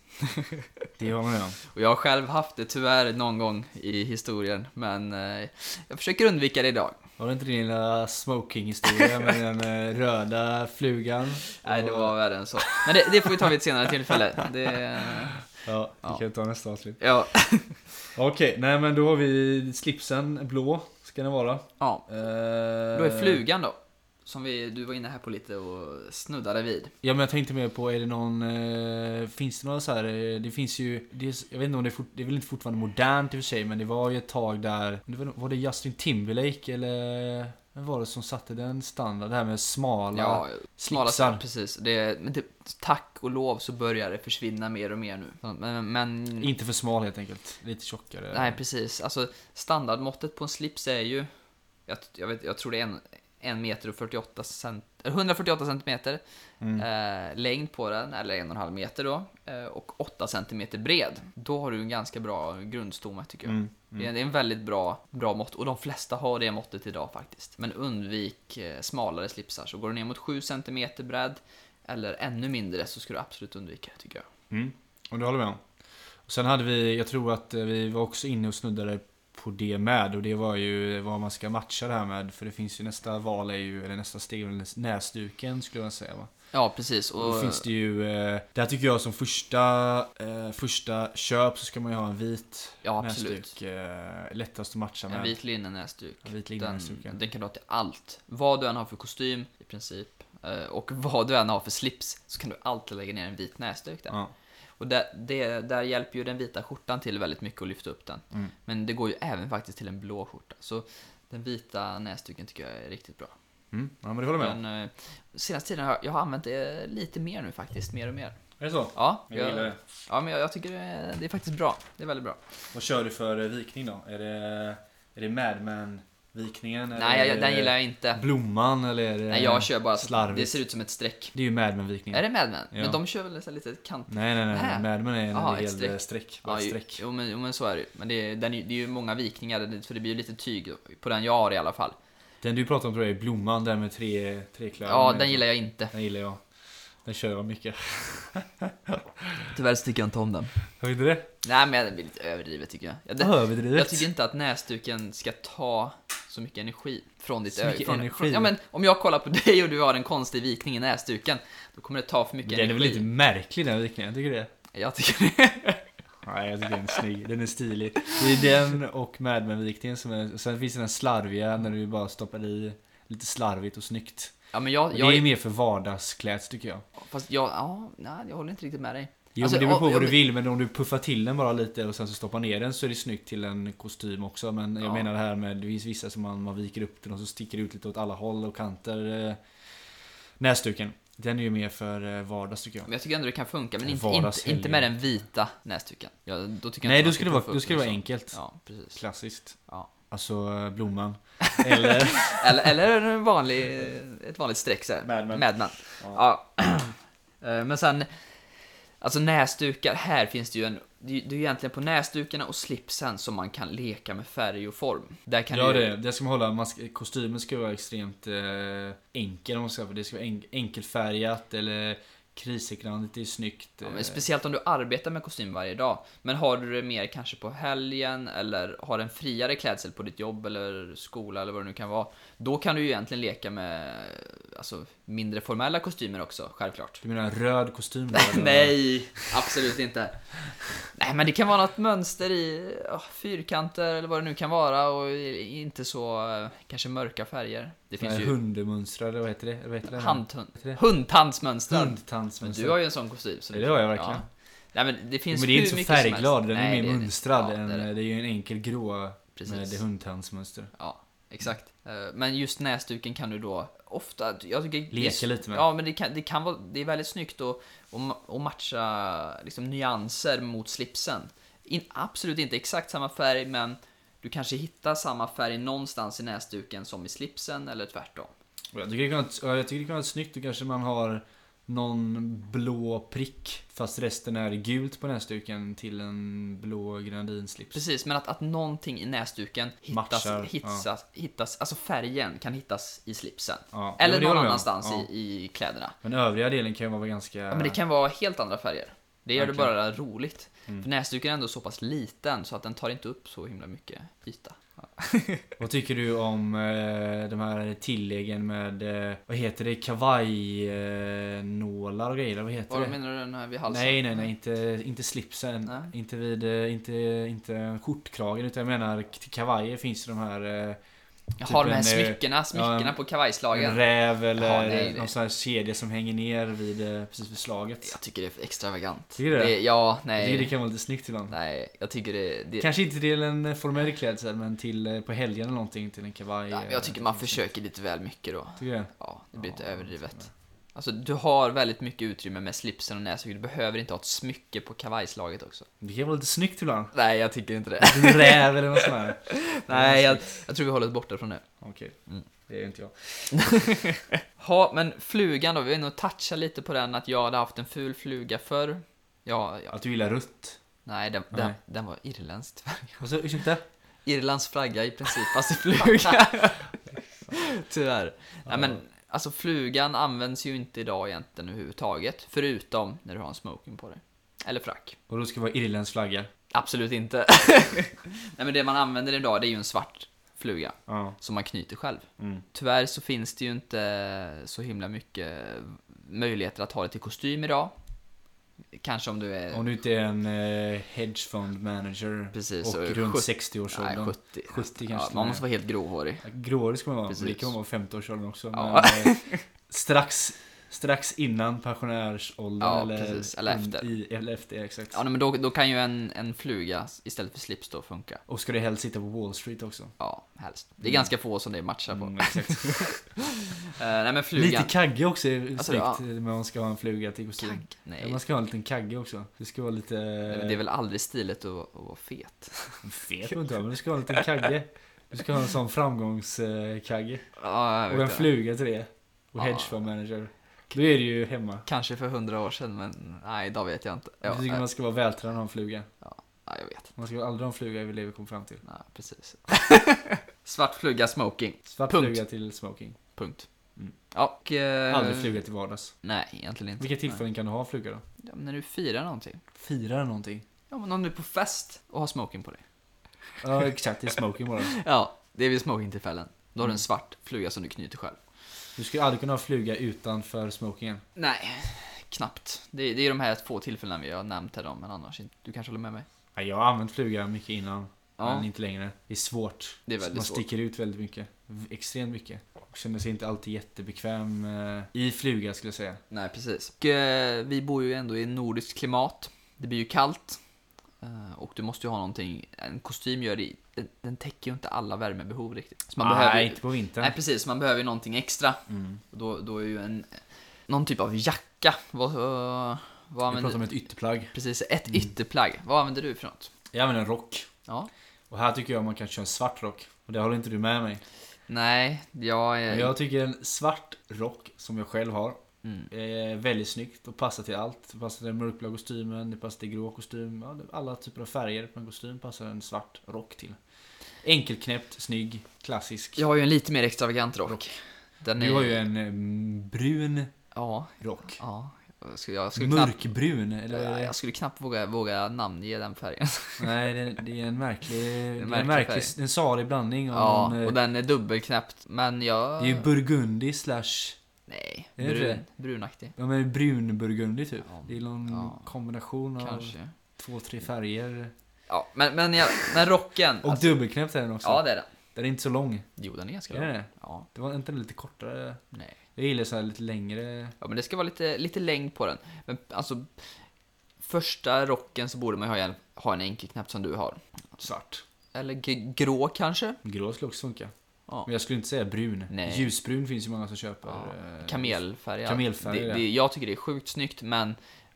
Speaker 3: det har man ju.
Speaker 1: Och jag har själv haft det tyvärr någon gång i historien, men eh, jag försöker undvika det idag.
Speaker 3: Var det inte din lilla smoking-historia med den eh, röda flugan?
Speaker 1: Nej, det
Speaker 3: Och-
Speaker 1: var värre än så. Men det, det får vi ta vid ett senare tillfälle. Det,
Speaker 3: Ja, vi
Speaker 1: Ja.
Speaker 3: kan ta nästa avsnitt.
Speaker 1: ja,
Speaker 3: Okej, nej men då har vi slipsen blå, ska den vara.
Speaker 1: ja.
Speaker 3: Eh,
Speaker 1: Då är flugan då. Som vi, du var inne här på lite och snuddade vid.
Speaker 3: Ja men jag tänkte mer på, är det någon... Eh, finns det några så här, eh, Det finns ju... Det är, jag vet inte om det är, fort, det är väl inte fortfarande modernt i och för sig men det var ju ett tag där... det Var, var det Justin Timberlake eller... Vem var det som satte den standarden? Det här med smala
Speaker 1: Ja, smala
Speaker 3: slipsar.
Speaker 1: precis. Det, men det, tack och lov så börjar det försvinna mer och mer nu. Men, men
Speaker 3: Inte för smal helt enkelt. Lite tjockare.
Speaker 1: nej precis. Alltså standardmåttet på en slips är ju, jag, jag, vet, jag tror det är en, en meter och 48 cent, eller 148 centimeter
Speaker 3: Mm.
Speaker 1: eh, längd på den, eller en och en halv meter då, eh, och 8 centimeter bred. Då har du en ganska bra grundstomme tycker jag.
Speaker 3: Mm,
Speaker 1: Det är- Det är en väldigt bra, bra mått och de flesta har det måttet idag faktiskt. Men undvik eh, smalare slipsar. Så går du ner mot 7 cm bredd eller ännu mindre så ska du absolut undvika det tycker jag.
Speaker 3: Mm. Och det håller jag med om. Och sen hade vi, jag tror att eh, vi var också inne och snuddade på det med och det var ju vad man ska matcha det här med för det finns ju nästa val är ju, eller nästa steg, är väl näsduken skulle jag säga va?
Speaker 1: Ja precis. Och,
Speaker 3: Då finns det ju, eh, där tycker jag som första, eh, första köp så ska man ju ha en vit
Speaker 1: ja absolut.
Speaker 3: näsduk. Eh, lättast att matcha med.
Speaker 1: En vit linnenäsduk.
Speaker 3: En vit
Speaker 1: Den,
Speaker 3: linnenäsduk, ja.
Speaker 1: den kan du ha till allt. Vad du än har för kostym i princip eh, och vad du än har för slips så kan du alltid lägga ner en vit näsduk där.
Speaker 3: Ja.
Speaker 1: Och där, det, där hjälper ju den vita skjortan till väldigt mycket att lyfta upp den.
Speaker 3: Mm.
Speaker 1: Men det går ju även faktiskt till en blå skjorta. Så den vita näsduken tycker jag är riktigt bra.
Speaker 3: Mm. ja, men det håller jag med om.
Speaker 1: Men eh, senaste tiden har jag, jag har använt det lite mer nu faktiskt, mer och mer.
Speaker 3: Är det så?
Speaker 1: Ja,
Speaker 3: Jag gillar det.
Speaker 1: Ja, men jag, jag tycker det är, det är faktiskt bra. Det är väldigt bra.
Speaker 3: Vad kör du för eh, vikning då? Är det, är det Mad Men-vikningen?
Speaker 1: Nej, jag, den gillar jag inte.
Speaker 3: Blomman eller? är det-
Speaker 1: Nej, jag kör bara så att
Speaker 3: slarvigt.
Speaker 1: det ser ut som ett streck.
Speaker 3: Det är ju Mad
Speaker 1: Är
Speaker 3: Men-vikningen.
Speaker 1: det Mad Men?
Speaker 3: Ja.
Speaker 1: Men de kör väl så här lite kant...
Speaker 3: Nej, nej, nej.
Speaker 1: Nähä.
Speaker 3: nej. Mad Men är en
Speaker 1: Jaha,
Speaker 3: hel
Speaker 1: ett streck.
Speaker 3: streck. streck. Bara
Speaker 1: Ja, ju-
Speaker 3: streck.
Speaker 1: Jo, men, jo, men så är det ju. Men det, är- den, är ju- det är ju många vikningar, det- för det blir ju lite tyg på den jag har i alla fall.
Speaker 3: Den du pratar om tror jag är Blomman, den med tre, tre klöver.
Speaker 1: Ja, den gillar jag inte.
Speaker 3: Den gillar jag. Den kör jag mycket.
Speaker 1: Tyvärr så tycker jag inte om den.
Speaker 3: Hör inte det?
Speaker 1: Nej, men den blir lite överdrivet tycker jag. Jag, det,
Speaker 3: Överdrivet.
Speaker 1: Jag tycker inte att näsduken ska ta så mycket energi från ditt
Speaker 3: Så
Speaker 1: öga.
Speaker 3: mycket
Speaker 1: från,
Speaker 3: energi.
Speaker 1: Från, ja, men om jag kollar på dig och du har en konstig vikning i näsduken, då kommer det ta för mycket
Speaker 3: Den är väl
Speaker 1: energi.
Speaker 3: lite märklig den vikningen, tycker du det?
Speaker 1: Jag tycker det.
Speaker 3: Nej, jag tycker den är snygg. Den är stilig. Det är den och Mad Men-vikningen som är... Sen finns det den slarviga när du bara stoppar i lite slarvigt och snyggt.
Speaker 1: Ja, men jag,
Speaker 3: Det
Speaker 1: jag,
Speaker 3: är mer för vardagskläds tycker jag.
Speaker 1: fast jag, ja, nej, jag håller inte riktigt med dig.
Speaker 3: Jo
Speaker 1: Alltså,
Speaker 3: men det beror på
Speaker 1: ja,
Speaker 3: vad du
Speaker 1: men-
Speaker 3: vill men om du puffar till den bara lite och sen så stoppar ner den så är det snyggt till en kostym också men jag
Speaker 1: Ja.
Speaker 3: menar det här med det finns vissa som man, man viker upp den och så sticker det ut lite åt alla håll och kanter eh, Näsduken Den är ju mer för eh, vardags tycker jag
Speaker 1: Men jag tycker ändå det kan funka, men
Speaker 3: En
Speaker 1: inte, inte,
Speaker 3: vardagshelg.
Speaker 1: inte med den vita näsduken. Ja, då tycker jag
Speaker 3: Nej
Speaker 1: inte
Speaker 3: då
Speaker 1: man
Speaker 3: ska det
Speaker 1: puffa
Speaker 3: vara,
Speaker 1: upp
Speaker 3: då ska det
Speaker 1: den
Speaker 3: vara
Speaker 1: så.
Speaker 3: enkelt
Speaker 1: Ja, precis.
Speaker 3: Klassiskt
Speaker 1: Ja.
Speaker 3: Alltså eh, Blomman. Eller...
Speaker 1: Eller, eller en vanlig, ett vanligt streck så här.
Speaker 3: Mad Men.
Speaker 1: Mad Men. Ja. Eh, Men sen, alltså näsdukar, här finns det ju en, det är det är ju egentligen på näsdukarna och slipsen som man kan leka med färg och form. Där kan
Speaker 3: ja
Speaker 1: du,
Speaker 3: det, är det. det ska man hålla. Man ska, kostymen ska vara extremt eh, enkel om man ska för Det ska vara en, enkelfärgat eller krisekranigt, det är snyggt.
Speaker 1: Ja,
Speaker 3: eh,
Speaker 1: men speciellt om du arbetar med kostym varje dag. Men har du det mer kanske på helgen eller har en friare klädsel på ditt jobb eller skola eller vad det nu kan vara. Då kan du ju egentligen leka med alltså, mindre formella kostymer också, självklart.
Speaker 3: Du menar en röd kostym? då, eller?
Speaker 1: Nej, absolut inte. Nej, men det kan vara något mönster i ja, fyrkanter eller vad det nu kan vara och i- inte så eh, kanske mörka färger. Det
Speaker 3: Nej,
Speaker 1: finns ju
Speaker 3: Hundmönstrade, vad heter det? Vad heter det?
Speaker 1: handhund,
Speaker 3: heter det?
Speaker 1: hundtandsmönster. Men
Speaker 3: Hundtandsmönster.
Speaker 1: du har ju en sån kostym. Så
Speaker 3: Ja, det har jag verkligen.
Speaker 1: Nej, men det finns
Speaker 3: men det är
Speaker 1: hur
Speaker 3: inte så
Speaker 1: mycket som helst.
Speaker 3: färgglad, den
Speaker 1: Nej,
Speaker 3: är
Speaker 1: det
Speaker 3: mer
Speaker 1: det.
Speaker 3: mönstrad.
Speaker 1: Ja,
Speaker 3: än,
Speaker 1: det är det.
Speaker 3: eh, det är ju en enkel grå med
Speaker 1: Precis.
Speaker 3: hundtandsmönster.
Speaker 1: Ja, exakt. Eh, Men just näsduken kan du då ofta... Jag tycker det är
Speaker 3: Leka
Speaker 1: s-
Speaker 3: lite med.
Speaker 1: Ja, men det kan, det kan vara... Det är väldigt snyggt att, att ma- att matcha liksom, nyanser mot slipsen. In, absolut inte exakt samma färg, men du kanske hittar samma färg någonstans i näsduken som i slipsen eller tvärtom.
Speaker 3: Och Jag tycker det kan vara, ja, jag tycker det kan vara snyggt, då kanske man har någon blå prick fast resten är gult på näsduken till en blå grandinslips.
Speaker 1: Precis, men att, att någonting i näsduken hittas,
Speaker 3: Matchar,
Speaker 1: hittas, hittas... Alltså färgen kan hittas i slipsen.
Speaker 3: Ja,
Speaker 1: eller
Speaker 3: men det håller jag
Speaker 1: någon
Speaker 3: med om.
Speaker 1: annanstans
Speaker 3: Ja.
Speaker 1: i, i kläderna.
Speaker 3: Men övriga delen kan ju vara ganska...
Speaker 1: Ja, men det kan vara helt andra färger. Det gör det
Speaker 3: Verkligen. Mm.
Speaker 1: bara roligt. För näsduken är ändå så pass liten så att den tar inte upp så himla mycket yta.
Speaker 3: Vad tycker du om eh, de här tilläggen med, eh, vad heter det, kavajnålar eh, nålar och grejer? eller Vad heter
Speaker 1: Vad
Speaker 3: det?
Speaker 1: menar du den här vid halsen?
Speaker 3: Nej, nej, nej, inte, inte slipsen.
Speaker 1: Nej.
Speaker 3: Inte vid, eh, inte, inte skjortkragen utan jag menar k- till kavajer finns ju de här eh,
Speaker 1: Jag
Speaker 3: Typ
Speaker 1: har de här
Speaker 3: en, eh,
Speaker 1: smyckena, smyckena
Speaker 3: ja, en-
Speaker 1: på
Speaker 3: en
Speaker 1: kavajslagen.
Speaker 3: räv eller
Speaker 1: Jaha, nej, det-
Speaker 3: någon sån här kedja som hänger ner vid, eh, precis vid slaget.
Speaker 1: Jag tycker det är för extravagant.
Speaker 3: Tycker du det?
Speaker 1: Ja,
Speaker 3: Jag
Speaker 1: nej.
Speaker 3: tycker det kan vara lite snyggt ibland.
Speaker 1: Nej, jag tycker det... det
Speaker 3: Kanske inte till en eh, formell klädsel men till eh, på helgen eller någonting till en kavaj.
Speaker 1: ja,
Speaker 3: eh,
Speaker 1: jag tycker man
Speaker 3: någonting.
Speaker 1: försöker lite väl mycket då.
Speaker 3: Tycker du det?
Speaker 1: Ja, det blir lite
Speaker 3: Ja,
Speaker 1: överdrivet. Alltså, du har väldigt mycket utrymme med slipsen och näsduken. Du behöver inte ha ett smycke på kavajslaget också.
Speaker 3: Det kan vara lite snyggt ibland.
Speaker 1: Nej, jag tycker inte det.
Speaker 3: En räv eller något sånt här.
Speaker 1: Nej, jag, jag tror vi håller oss borta från det.
Speaker 3: Okej,
Speaker 1: Mm.
Speaker 3: det är inte jag.
Speaker 1: Ja, men flugan då, vi var inne och touchade lite på den att jag hade haft en ful fluga förr. Ja, ja.
Speaker 3: Att du gillar rött.
Speaker 1: Nej, den, den,
Speaker 3: Nej.
Speaker 1: den var irländskt.
Speaker 3: Alltså, ursäkta?
Speaker 1: Irlands flagga i princip, fast i fluga. Tyvärr. Nej men, alltså flugan används ju inte idag egentligen överhuvudtaget. Förutom när du har en smoking på dig. Eller frack.
Speaker 3: Och då ska det vara irländsk flagga.
Speaker 1: Absolut inte. Nej men det man använder idag det är ju en svart fluga.
Speaker 3: Ja.
Speaker 1: Som man knyter själv.
Speaker 3: Mm.
Speaker 1: Tyvärr så finns det ju inte så himla mycket möjligheter att ha det till kostym idag. Kanske om du är
Speaker 3: Om du inte är en eh, hedge fund manager
Speaker 1: Precis,
Speaker 3: och
Speaker 1: så
Speaker 3: runt
Speaker 1: sjut-
Speaker 3: 60-årsåldern.
Speaker 1: nej, 70.
Speaker 3: 70 kanske
Speaker 1: ja,
Speaker 3: till och
Speaker 1: man
Speaker 3: med.
Speaker 1: måste vara helt gråhårig.
Speaker 3: Gråhårig ska man vara, men det
Speaker 1: Precis.
Speaker 3: kan man vara i 50-årsåldern också.
Speaker 1: Ja.
Speaker 3: Men, eh, strax, strax innan pensionärsåldern
Speaker 1: Ja,
Speaker 3: eller,
Speaker 1: precis. Eller
Speaker 3: in-
Speaker 1: efter.
Speaker 3: I, eller efter, ja, exakt.
Speaker 1: Ja, nej, men då, då kan ju en, en fluga istället för slips då funka.
Speaker 3: Och ska du helst sitta på Wall Street också.
Speaker 1: Ja, helst. Det är
Speaker 3: Mm.
Speaker 1: ganska få som det matchar på.
Speaker 3: Mm, exakt.
Speaker 1: Eh, nej men
Speaker 3: Lite
Speaker 1: flugan.
Speaker 3: kagge också är snyggt
Speaker 1: Alltså, ja.
Speaker 3: när man ska ha en fluga till kostym.
Speaker 1: Kank.
Speaker 3: Ja,
Speaker 1: Nej.
Speaker 3: Man ska ha en liten kagge också. Det ska vara lite...
Speaker 1: Nej, men Det är väl aldrig stiligt att, att vara fet?
Speaker 3: Fet får du inte vara, men du ska ha en liten kagge. Du ska ha en sån framgångskagge.
Speaker 1: Ja, jag
Speaker 3: Och
Speaker 1: vet
Speaker 3: en
Speaker 1: det.
Speaker 3: fluga till det. Och
Speaker 1: Ja.
Speaker 3: hedge fund manager. Då är du ju hemma.
Speaker 1: Kanske för hundra år sedan, men nej, idag vet jag inte. Ja,
Speaker 3: Jag tycker
Speaker 1: nej,
Speaker 3: man ska vara vältränad och ha en fluga.
Speaker 1: ja, jag vet.
Speaker 3: Man ska aldrig ha en fluga i livet vi kom fram till.
Speaker 1: Nej, precis. Svart fluga smoking.
Speaker 3: Svart
Speaker 1: Punkt.
Speaker 3: fluga till smoking.
Speaker 1: Punkt.
Speaker 3: Mm.
Speaker 1: Ja, och, eh,
Speaker 3: Aldrig fluga till vardags.
Speaker 1: Nej, egentligen inte.
Speaker 3: Vilka tillfällen kan du ha fluga då?
Speaker 1: Nej. Ja, men när du firar någonting.
Speaker 3: Fira någonting.
Speaker 1: Ja, men om du är på fest och har smoking på dig.
Speaker 3: Ja exakt, det är smoking bara.
Speaker 1: Ja, det är vid smokingtillfällen. Då har du
Speaker 3: Mm.
Speaker 1: en svart fluga som du knyter själv.
Speaker 3: Du skulle aldrig kunna ha fluga utanför smokingen.
Speaker 1: Nej, knappt. Det, det är de här två tillfällena vi har nämnt här om, men annars inte. Du kanske håller med mig?
Speaker 3: Ja, jag har använt fluga mycket innan.
Speaker 1: Ja.
Speaker 3: Men inte längre. Det är svårt.
Speaker 1: Det är väldigt
Speaker 3: Man
Speaker 1: svårt.
Speaker 3: sticker ut väldigt mycket. V- Extremt mycket. Och känner sig inte alltid jättebekväm eh, i fluga skulle jag säga.
Speaker 1: Nej, precis. Och, eh, vi bor ju ändå i nordiskt klimat. Det blir ju kallt. eh, Och du måste ju ha någonting, en kostym gör det, den- den täcker ju inte alla värmebehov riktigt. Så man
Speaker 3: Nej,
Speaker 1: behöver, ju-
Speaker 3: inte på vintern.
Speaker 1: nej, precis, man behöver ju någonting extra.
Speaker 3: Mm.
Speaker 1: Och Då, då är ju en, någon typ av jacka, vad, eh, vad
Speaker 3: Vi pratar
Speaker 1: använder
Speaker 3: om
Speaker 1: du?
Speaker 3: ett Mm. ytterplagg.
Speaker 1: Precis, ett ytterplagg. Vad använder du för något?
Speaker 3: Jag använder en rock.
Speaker 1: Ja,
Speaker 3: Och här tycker jag man kan köra en svart rock. Och det håller inte du med mig.
Speaker 1: Nej, jag är...
Speaker 3: Men jag tycker en svart rock som jag själv har
Speaker 1: Mm.
Speaker 3: är väldigt snyggt och passar till allt. Det passar till den mörkblå kostymen, det passar till grå kostym. Ja, det- alla typer av färger på en kostym passar en svart rock till. Enkelknäppt, snygg, klassisk.
Speaker 1: Jag har ju en lite mer extravagant rock. Den
Speaker 3: Du har ju en eh, brun
Speaker 1: Ja,
Speaker 3: rock.
Speaker 1: ja. Jag skulle, jag skulle knappt...
Speaker 3: Mörkbrun, eller vad är
Speaker 1: Ja,
Speaker 3: det?
Speaker 1: Eh, Jag skulle knappt våga, våga namnge den färgen.
Speaker 3: Nej, det, det är en märklig... Det är en
Speaker 1: märklig
Speaker 3: märklig,
Speaker 1: färg.
Speaker 3: en salig blandning av
Speaker 1: Ja,
Speaker 3: någon, eh,
Speaker 1: och den är dubbelknäppt. Men jag...
Speaker 3: Det är ju burgundi slash...
Speaker 1: Nej,
Speaker 3: Är det inte
Speaker 1: brun,
Speaker 3: det?
Speaker 1: brunaktig.
Speaker 3: Ja men brunburgundi typ.
Speaker 1: Ja,
Speaker 3: Det är någon
Speaker 1: ja.
Speaker 3: kombination av
Speaker 1: Kanske.
Speaker 3: två, tre färger.
Speaker 1: Ja, men, men, jag, men rocken.
Speaker 3: Och
Speaker 1: alltså,
Speaker 3: dubbelknäppt är den också.
Speaker 1: ja, det är den.
Speaker 3: Den är inte så lång.
Speaker 1: Jo, den är ganska
Speaker 3: Är den
Speaker 1: bra.
Speaker 3: det?
Speaker 1: Ja,
Speaker 3: Det var inte den lite kortare.
Speaker 1: nej.
Speaker 3: Jag gillar så här lite längre.
Speaker 1: Ja, men det ska vara lite, lite längd på den. Men alltså, första rocken så borde man ju ha en, ha en enkelknäpp som du har.
Speaker 3: Svart.
Speaker 1: Eller g- grå kanske?
Speaker 3: Grå skulle också funka.
Speaker 1: Ja.
Speaker 3: Men jag skulle inte säga brun.
Speaker 1: Nej.
Speaker 3: Ljusbrun finns ju många som köper.
Speaker 1: Ja.
Speaker 3: eh,
Speaker 1: Kamelfärg. ja.
Speaker 3: Kamelfärg,
Speaker 1: det,
Speaker 3: ja.
Speaker 1: det, Jag tycker det är sjukt snyggt, men...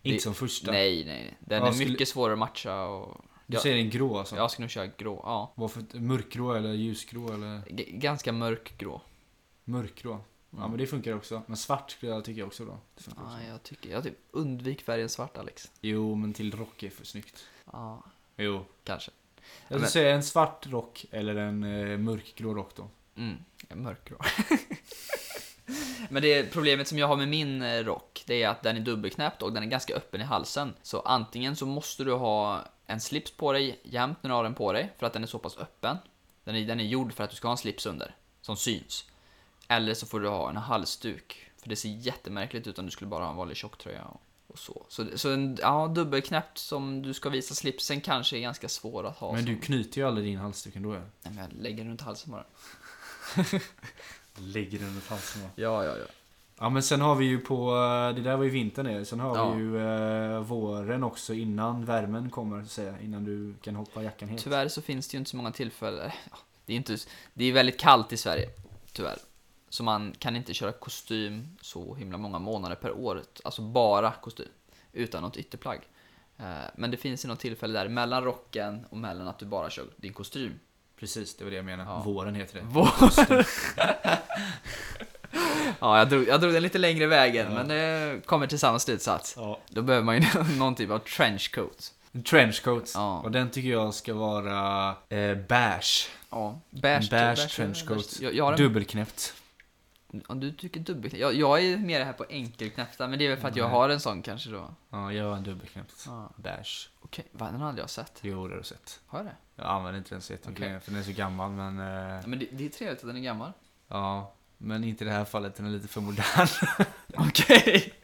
Speaker 3: Inte
Speaker 1: det-
Speaker 3: som första.
Speaker 1: Nej, nej. Den
Speaker 3: Ja,
Speaker 1: är
Speaker 3: skulle-
Speaker 1: mycket svårare att matcha och...
Speaker 3: Du
Speaker 1: Ja.
Speaker 3: säger en grå alltså?
Speaker 1: Jag skulle nog köra grå, ja.
Speaker 3: Varför, mörkgrå eller ljusgrå eller
Speaker 1: G- ganska mörkgrå.
Speaker 3: mörkgrå? Ja men det funkar också. Men svart skulle jag tycka också då. Det funkar också.
Speaker 1: Ja, jag tycker... Jag typ undvik färgen svart, Alex.
Speaker 3: Jo men till rock är för snyggt.
Speaker 1: Ja,
Speaker 3: Jo.
Speaker 1: kanske.
Speaker 3: Jag
Speaker 1: Ja,
Speaker 3: skulle
Speaker 1: men-
Speaker 3: säga en svart rock eller en eh, mörkgrå rock då.
Speaker 1: Mm, mörkgrå. Men det problemet som jag har med min eh, rock, det är att den är dubbelknäppt och den är ganska öppen i halsen. Så antingen så måste du ha en slips på dig jämt när du har den på dig, för att den är så pass öppen. Den är, den är gjord för att du ska ha en slips under, som syns. Eller så får du ha en halsduk, för det ser jättemärkligt ut om du skulle bara ha en vanlig tjocktröja och, och så. Så, så en ja, dubbelknäppt som du ska visa slipsen kanske är ganska svår att ha.
Speaker 3: Men
Speaker 1: som,
Speaker 3: du knyter ju aldrig din halsduk ändå. ja.
Speaker 1: Nej, men jag lägger den runt halsen bara.
Speaker 3: Lägger den runt halsen va?
Speaker 1: Ja, ja, ja.
Speaker 3: Ja men sen har vi ju på, eh, det där var ju vintern det. Sen har
Speaker 1: Ja.
Speaker 3: vi ju eh, våren också innan värmen kommer så att säga. Innan du kan hoppa jackan helt.
Speaker 1: Tyvärr så finns det ju inte så många tillfällen. eh, Ja, Det är, inte, det är väldigt kallt i Sverige, tyvärr. Så man kan inte köra kostym så himla många månader per år. Alltså bara kostym, utan något ytterplagg. Eh, Men det finns ju något tillfälle där mellan rocken och mellan att du bara kör din kostym.
Speaker 3: Precis, det var det jag menade.
Speaker 1: Ja.
Speaker 3: Våren heter det.
Speaker 1: Ja, jag drog, jag drog den lite längre vägen,
Speaker 3: Ja.
Speaker 1: men det kommer till samma slutsats.
Speaker 3: Ja.
Speaker 1: Då behöver man ju någon typ av trenchcoat.
Speaker 3: Trenchcoats.
Speaker 1: Ja.
Speaker 3: Och den tycker jag ska vara eh, beige.
Speaker 1: Ja,
Speaker 3: Beige,
Speaker 1: beige,
Speaker 3: trenchcoat.
Speaker 1: Jag, jag har en
Speaker 3: Dubbelknäppt.
Speaker 1: Om du tycker dubbelknäppt. Jag, jag är mer här på enkelknäppta, men det är väl för att jag har en sån kanske då.
Speaker 3: Ja, jag har en dubbelknäppt.
Speaker 1: Ja.
Speaker 3: Beige.
Speaker 1: Okej, vad den hade jag sett.
Speaker 3: Jo, det har du sett.
Speaker 1: Har jag det?
Speaker 3: Jag använder inte den så jättemycket
Speaker 1: Okej.
Speaker 3: längre, för den är så gammal men... Eh,
Speaker 1: Ja, men det, det är trevligt att den är gammal.
Speaker 3: ja. Men inte i det här fallet, den är lite för modern.
Speaker 1: Okej.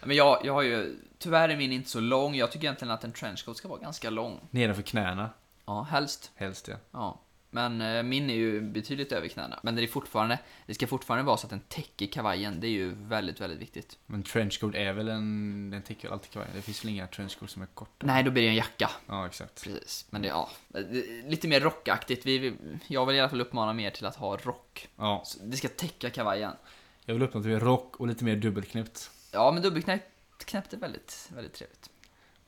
Speaker 1: Ja, men jag, jag har ju, tyvärr är min inte så lång. Jag tycker egentligen att en trenchcoat ska vara ganska lång.
Speaker 3: Nedanför knäna,
Speaker 1: Ja, helst.
Speaker 3: helst ja.
Speaker 1: Ja. Men eh, min är ju betydligt över knäna. Men det är fortfarande, det ska fortfarande vara så att den täcker kavajen. Det är ju väldigt, väldigt viktigt.
Speaker 3: Men trenchcoat är väl en... Den täcker ju alltid kavajen. Det finns väl inga trenchcoats som är korta?
Speaker 1: Nej, då blir det en jacka.
Speaker 3: Ja, exakt.
Speaker 1: Precis, men det, ja. Det- Lite mer rockaktigt. Vi, vi- jag vill i alla fall uppmana mer till att ha rock.
Speaker 3: Ja.
Speaker 1: Så Det ska täcka kavajen.
Speaker 3: Jag vill uppnå att vi är rock och lite mer dubbelknäppt.
Speaker 1: Ja, men dubbelknäppt knäppt är väldigt, väldigt trevligt.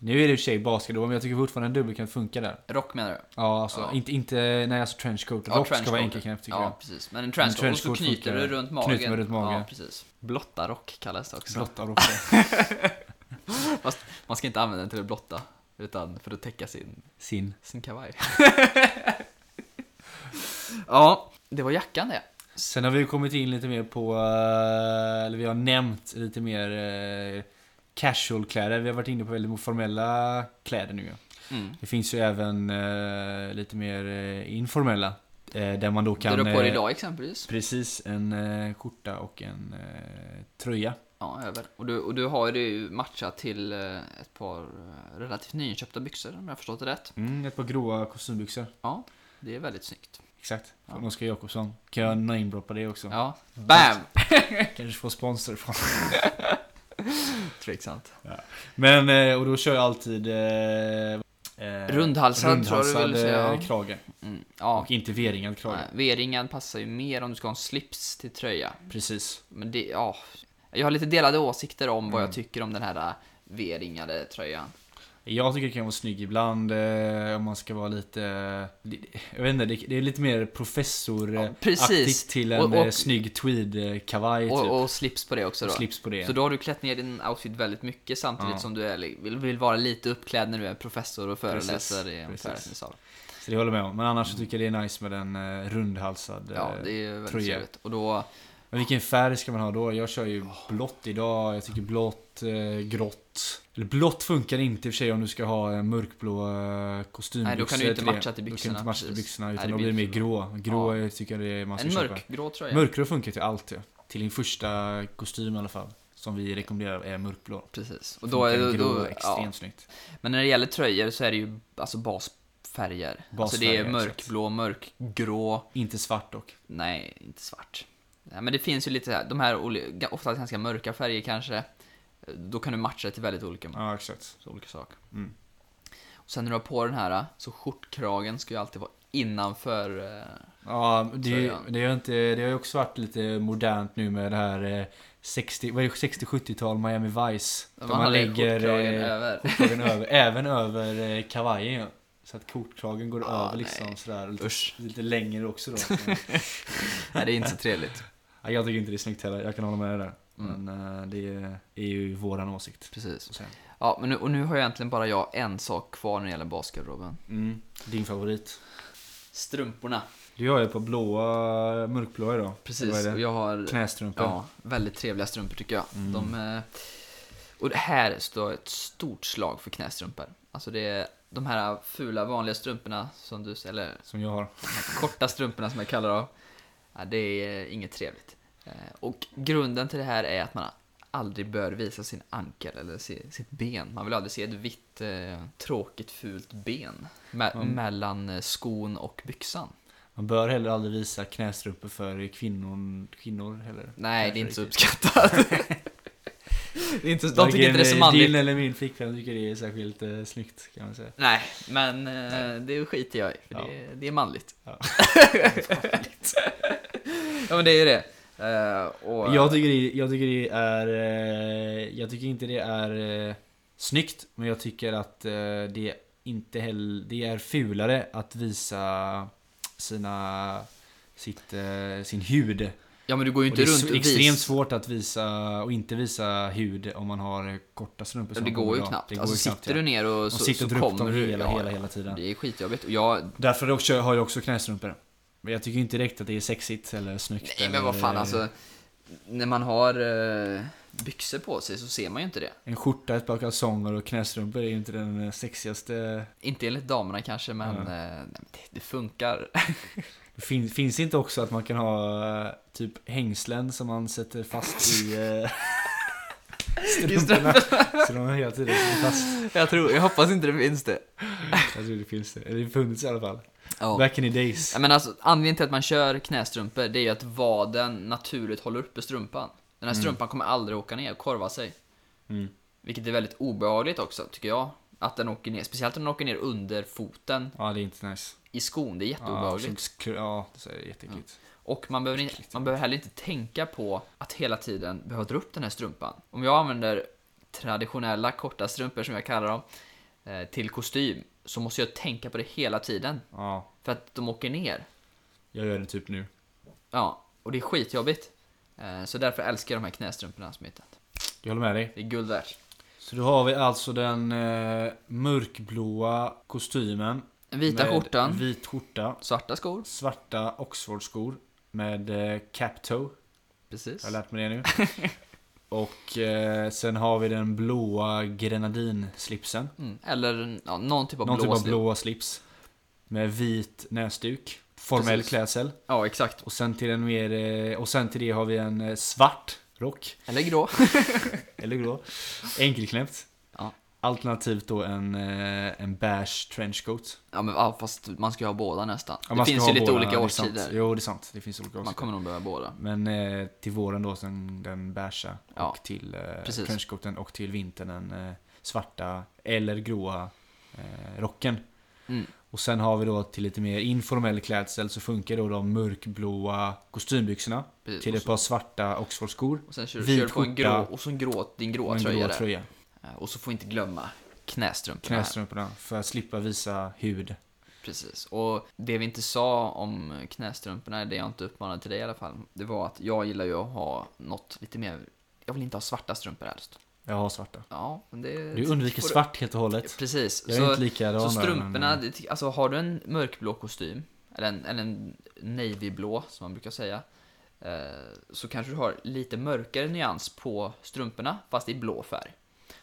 Speaker 3: Nu är det i och för sig basket då, men jag tycker fortfarande en dubbelknäppt funkar där.
Speaker 1: Rock menar du?
Speaker 3: Ja, alltså
Speaker 1: Ja.
Speaker 3: inte... inte nej, alltså trenchcoat.
Speaker 1: Ja,
Speaker 3: Rock ska
Speaker 1: trenchcoat.
Speaker 3: vara enkelknäppt tycker
Speaker 1: ja,
Speaker 3: jag.
Speaker 1: precis. Men en trenchcoat, och så
Speaker 3: trenchcoat
Speaker 1: knyter du
Speaker 3: funkar.
Speaker 1: runt magen.
Speaker 3: Knyter man runt magen.
Speaker 1: Ja, precis. Blotta rock kallas det också.
Speaker 3: Blotta rock.
Speaker 1: Fast man ska inte använda den till att blotta, utan för att täcka sin,
Speaker 3: Sin.
Speaker 1: sin kavaj. ja, det var jackan det.
Speaker 3: Sen har vi kommit in lite mer på, eh, eller vi har nämnt lite mer eh, casual-kläder. Vi har varit inne på väldigt formella kläder nu. ja.
Speaker 1: Mm.
Speaker 3: Det finns ju även eh, lite mer eh, informella. eh, Där man då
Speaker 1: det
Speaker 3: kan...
Speaker 1: du har på dig
Speaker 3: eh,
Speaker 1: idag exempelvis.
Speaker 3: Precis, en eh, skjorta och en eh, tröja.
Speaker 1: Ja, över. Och du, och du har det ju matchat till eh, ett par eh, relativt nyinköpta byxor om jag har förstått det rätt.
Speaker 3: Mm, ett par gråa kostymbyxor.
Speaker 1: Ja, det är väldigt snyggt.
Speaker 3: Exakt,
Speaker 1: Ja.
Speaker 3: från
Speaker 1: Mm.
Speaker 3: Oskar Jakobsson. Kan jag namedroppa det också?
Speaker 1: Ja, BAM!
Speaker 3: Kanske få sponsor från
Speaker 1: Tveksamt.
Speaker 3: Men, eh, och då kör jag alltid... Eh, eh,
Speaker 1: Rundhalsad, tror jag du vill säga.
Speaker 3: eh, krage.
Speaker 1: Mm, ja.
Speaker 3: Och inte V-ringad krage.
Speaker 1: Nej, V-ringen passar ju mer om du ska ha en slips till tröja.
Speaker 3: Precis.
Speaker 1: Men det, ja. Jag har lite delade åsikter om vad
Speaker 3: Mm.
Speaker 1: jag tycker om den här eh, V-ringade tröjan.
Speaker 3: Jag tycker det kan vara snygg ibland eh, om man ska vara lite... eh, Jag vet inte, det, det är lite mer
Speaker 1: Ja,
Speaker 3: professoraktigt
Speaker 1: precis.
Speaker 3: till en
Speaker 1: Och- och-
Speaker 3: eh, snygg tweed-kavaj typ.
Speaker 1: Och, och slips på det också då.
Speaker 3: Och slips på det.
Speaker 1: Så då har du klätt ner din outfit väldigt mycket samtidigt
Speaker 3: Ja.
Speaker 1: som du är, li- vill, vill vara lite uppklädd när du är professor och
Speaker 3: Precis,
Speaker 1: föreläser i en
Speaker 3: precis.
Speaker 1: föreläsningssal.
Speaker 3: Så det håller jag med om. Men annars så tycker jag det är nice med en eh, rundhalsad. eh,
Speaker 1: Ja, det är ju väldigt
Speaker 3: tröja.
Speaker 1: trevligt. Och då,
Speaker 3: Men vilken färg ska man ha då? Jag kör ju blått idag. Jag tycker blått, eh, grått. Eller blått funkar inte i och för sig om du ska ha en mörkblå eh, kostymbyxor.
Speaker 1: Nej, då kan du ju inte
Speaker 3: till det.
Speaker 1: matcha till
Speaker 3: Då kan du
Speaker 1: byxorna,
Speaker 3: inte matcha till
Speaker 1: precis.
Speaker 3: byxorna.
Speaker 1: Nej,
Speaker 3: Utan
Speaker 1: det
Speaker 3: då
Speaker 1: blir
Speaker 3: blir det mer
Speaker 1: för
Speaker 3: grå. Grå tycker jag det är man ska
Speaker 1: en
Speaker 3: köpa.
Speaker 1: mörkgrå tröja.
Speaker 3: Mörkblå funkar till allt ja. Till din första kostym i alla fall. Som vi rekommenderar är mörkblå.
Speaker 1: Precis. Och då, är-
Speaker 3: Funkar
Speaker 1: då,
Speaker 3: grå
Speaker 1: då,
Speaker 3: extremt
Speaker 1: ja.
Speaker 3: snyggt.
Speaker 1: Men när det gäller tröjor så är det ju alltså basfärger. Alltså det är
Speaker 3: Basfärger,
Speaker 1: mörkblå, mörkgrå,
Speaker 3: Inte svart dock.
Speaker 1: nej, inte svart. Nej, men det finns ju lite, de här oli- ga- oftast ganska mörka färger kanske. Då kan du matcha till väldigt olika,
Speaker 3: Ja exakt.
Speaker 1: så olika saker.
Speaker 3: Mm.
Speaker 1: Och sen när du har på den här, så skjortkragen ska ju alltid vara innanför. eh,
Speaker 3: Ja, det, är ju-
Speaker 1: Tröjan.
Speaker 3: det, är ju inte, det har ju också varit lite modernt nu med det här eh, 60, vad är det, 60-70-tal Miami Vice. Där
Speaker 1: Man hade skjortkragen
Speaker 3: eh,
Speaker 1: över.
Speaker 3: skjortkragen över. Även över eh, kavajen. ja. Så att kortkragen går
Speaker 1: Ah,
Speaker 3: över liksom
Speaker 1: nej.
Speaker 3: sådär. Lite,
Speaker 1: Usch.
Speaker 3: lite längre också då.
Speaker 1: Nej, det är inte så trevligt.
Speaker 3: ja, jag tycker inte det är snyggt heller, jag kan hålla med dig där.
Speaker 1: Mm.
Speaker 3: Men eh, det är- är ju våran åsikt.
Speaker 1: Precis.
Speaker 3: Så att säga.
Speaker 1: Ja, men nu, och nu har jag egentligen bara jag en sak kvar när det gäller basgarderoben.
Speaker 3: Mm. Din favorit?
Speaker 1: Strumporna.
Speaker 3: Du har ju ett par blåa, mörkblåa idag. Eller
Speaker 1: Precis,
Speaker 3: vad är
Speaker 1: och
Speaker 3: det?
Speaker 1: jag har
Speaker 3: Knästrumpor.
Speaker 1: ja, väldigt trevliga strumpor tycker jag.
Speaker 3: Mm.
Speaker 1: De, eh, och det här står ett stort slag för knästrumpor. Alltså det är de här fula vanliga strumporna som du, eller
Speaker 3: Som jag har.
Speaker 1: de här korta strumporna som jag kallar dem. Ja, det är inget trevligt. Eh, Och grunden till det här är att man aldrig bör visa sin ankel eller si- sitt ben. Man vill aldrig se ett vitt, eh, tråkigt, fult ben me-
Speaker 3: Mm.
Speaker 1: mellan eh, skon och byxan.
Speaker 3: Man bör heller aldrig visa knästrumpor för kvinnor, kvinnor heller.
Speaker 1: Nej, det är
Speaker 3: Kanske
Speaker 1: inte så
Speaker 3: riktigt.
Speaker 1: uppskattat. det är inte, de tycker
Speaker 3: Varken,
Speaker 1: inte det är så
Speaker 3: eh, Din
Speaker 1: manligt.
Speaker 3: eller min flickvän tycker det är särskilt eh, snyggt kan man säga.
Speaker 1: Nej, men eh, det skiter jag i, för det, det är manligt.
Speaker 3: Ja.
Speaker 1: ja, men det är ju det. Eh, och,
Speaker 3: Jag tycker det, jag tycker det är... eh, Jag tycker inte det är eh, snyggt, men jag tycker att eh, det inte heller... Det är fulare att visa sina... Sitt, eh, sin hud.
Speaker 1: ja, men du går ju
Speaker 3: Och
Speaker 1: inte
Speaker 3: det är
Speaker 1: runt
Speaker 3: så
Speaker 1: och
Speaker 3: extremt
Speaker 1: visar
Speaker 3: svårt att visa och inte visa hud om man har eh, korta strumpor.
Speaker 1: Ja,
Speaker 3: som
Speaker 1: det
Speaker 3: man
Speaker 1: går ju
Speaker 3: idag.
Speaker 1: knappt.
Speaker 3: Det går
Speaker 1: alltså,
Speaker 3: ju knappt,
Speaker 1: sitter
Speaker 3: ja.
Speaker 1: du ner och
Speaker 3: Och
Speaker 1: så,
Speaker 3: sitter
Speaker 1: så
Speaker 3: och drar upp
Speaker 1: kommer
Speaker 3: dem
Speaker 1: du...
Speaker 3: hela,
Speaker 1: ja,
Speaker 3: hela, hela tiden.
Speaker 1: Det är skitjobbigt. Och jag...
Speaker 3: Därför också, har jag också knästrumpor. Men jag tycker inte direkt att det är sexigt eller snyggt.
Speaker 1: Nej,
Speaker 3: eller-
Speaker 1: men vad fan alltså. När man har eh, byxor på sig så ser man ju inte det.
Speaker 3: En skjorta, ett par kalsonger och knästrumpor är ju inte den eh, sexigaste.
Speaker 1: Inte enligt damerna kanske, men
Speaker 3: Ja.
Speaker 1: eh, nej, men det, det funkar.
Speaker 3: Det fin finns inte också att man kan ha eh, typ hängslen som man sätter fast i eh, strumporna. Så de är hela tiden sitter fast.
Speaker 1: jag tror, jag hoppas inte det finns det.
Speaker 3: Jag tror det finns det. Eller det funnits i alla fall.
Speaker 1: Ja.
Speaker 3: Back in the days.
Speaker 1: Ja, men alltså, anledningen till att man kör knästrumpor det är ju att vaden naturligt håller uppe strumpan. Den här strumpan kommer aldrig åka ner och korva sig.
Speaker 3: Mm.
Speaker 1: Vilket är väldigt obehagligt också tycker jag. Att den åker ner, speciellt om den åker ner under foten
Speaker 3: Ja, det är inte nice.
Speaker 1: i skon. Det är
Speaker 3: Ja,
Speaker 1: jätteobehagligt.
Speaker 3: så- ja, det är jätteäckligt.
Speaker 1: Och man behöver, inte- man behöver heller inte tänka på att hela tiden behöva dra upp den här strumpan. Om jag använder traditionella korta strumpor som jag kallar dem eh, till kostym så måste jag tänka på det hela tiden.
Speaker 3: Ja,
Speaker 1: För att de åker ner.
Speaker 3: jag gör det typ nu.
Speaker 1: Ja, och det är skitjobbigt. Eh, Så därför älskar jag de här knästrumporna som jag hittat.
Speaker 3: Jag håller med dig.
Speaker 1: Det är guld värt.
Speaker 3: Så då har vi alltså den eh, mörkblåa kostymen.
Speaker 1: Den vita
Speaker 3: med
Speaker 1: skjortan,
Speaker 3: Vit skjorta.
Speaker 1: svarta skor.
Speaker 3: Svarta Oxfordskor. Med eh, captoe.
Speaker 1: Precis.
Speaker 3: Jag har lärt mig det nu. Och eh, sen har vi den blåa grenadinslipsen.
Speaker 1: Mm. Eller ja, någon typ av
Speaker 3: Någon
Speaker 1: blå
Speaker 3: typ av
Speaker 1: slip.
Speaker 3: blåa slips. Med vit näsduk. Formell
Speaker 1: Precis.
Speaker 3: klädsel.
Speaker 1: Ja, exakt.
Speaker 3: Och sen till den mer... Eh, och sen till det har vi en eh, svart rock.
Speaker 1: Eller grå.
Speaker 3: Eller grå. Enkelknäppt.
Speaker 1: Ja.
Speaker 3: Alternativt då en, eh, en beige trenchcoat.
Speaker 1: Ja, men ja, fast man ska ju ha båda nästan.
Speaker 3: Ja,
Speaker 1: det
Speaker 3: man ska
Speaker 1: finns
Speaker 3: ha
Speaker 1: ju lite
Speaker 3: båda, det
Speaker 1: olika
Speaker 3: är sant.
Speaker 1: årstider.
Speaker 3: Jo, det är sant. Det finns olika
Speaker 1: Man
Speaker 3: årstider.
Speaker 1: kommer nog behöva båda.
Speaker 3: Men eh, till våren då sen den beigea
Speaker 1: Ja,
Speaker 3: och till eh,
Speaker 1: precis.
Speaker 3: trenchcoaten och till vintern den eh, svarta eller gråa eh, rocken.
Speaker 1: Mm.
Speaker 3: Och sen har vi då till lite mer informell klädsel så funkar då de mörkblåa kostymbyxorna
Speaker 1: Precis.
Speaker 3: till
Speaker 1: Och
Speaker 3: ett
Speaker 1: så-
Speaker 3: par svarta Oxfordskor
Speaker 1: Och sen kör,
Speaker 3: vit
Speaker 1: kör du på en grå,
Speaker 3: skjorta.
Speaker 1: och så en grå, din gråa
Speaker 3: och en
Speaker 1: tröja
Speaker 3: grå
Speaker 1: där.
Speaker 3: tröja.
Speaker 1: Eh, Och så får inte glömma knästrumporna. här.
Speaker 3: knästrumporna för att slippa visa hud.
Speaker 1: Precis. Och det vi inte sa om knästrumporna, det jag inte uppmanade till dig i alla fall, det var att jag gillar ju att ha något lite mer... Jag vill inte ha svarta strumpor helst.
Speaker 3: Jag har svarta.
Speaker 1: Ja, men det...
Speaker 3: Du undviker
Speaker 1: får
Speaker 3: svart helt och hållet.
Speaker 1: Precis.
Speaker 3: Jag är
Speaker 1: så,
Speaker 3: inte likadan
Speaker 1: så
Speaker 3: där,
Speaker 1: strumporna,
Speaker 3: men-
Speaker 1: det- alltså har du en mörkblå kostym, eller en, eller en navyblå som man brukar säga, eh, så kanske du har lite mörkare nyans på strumporna, fast i blå färg.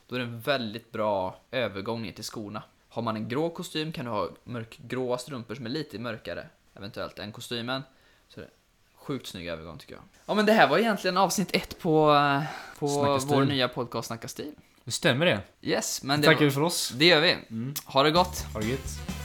Speaker 1: Då är det en väldigt bra övergång ner till skorna. Har man en grå kostym kan du ha mörkgråa strumpor som är lite mörkare, eventuellt, än kostymen. Så det är sjukt snygg övergång tycker jag. Ja men det här var egentligen avsnitt ett på, eh, på
Speaker 3: Snacka stil.
Speaker 1: vår nya podcast Snacka stil.
Speaker 3: Det stämmer det.
Speaker 1: Yes, men det,
Speaker 3: Tackar vi
Speaker 1: var,
Speaker 3: för oss.
Speaker 1: det gör vi. Ha det gott!
Speaker 3: Ha det gött.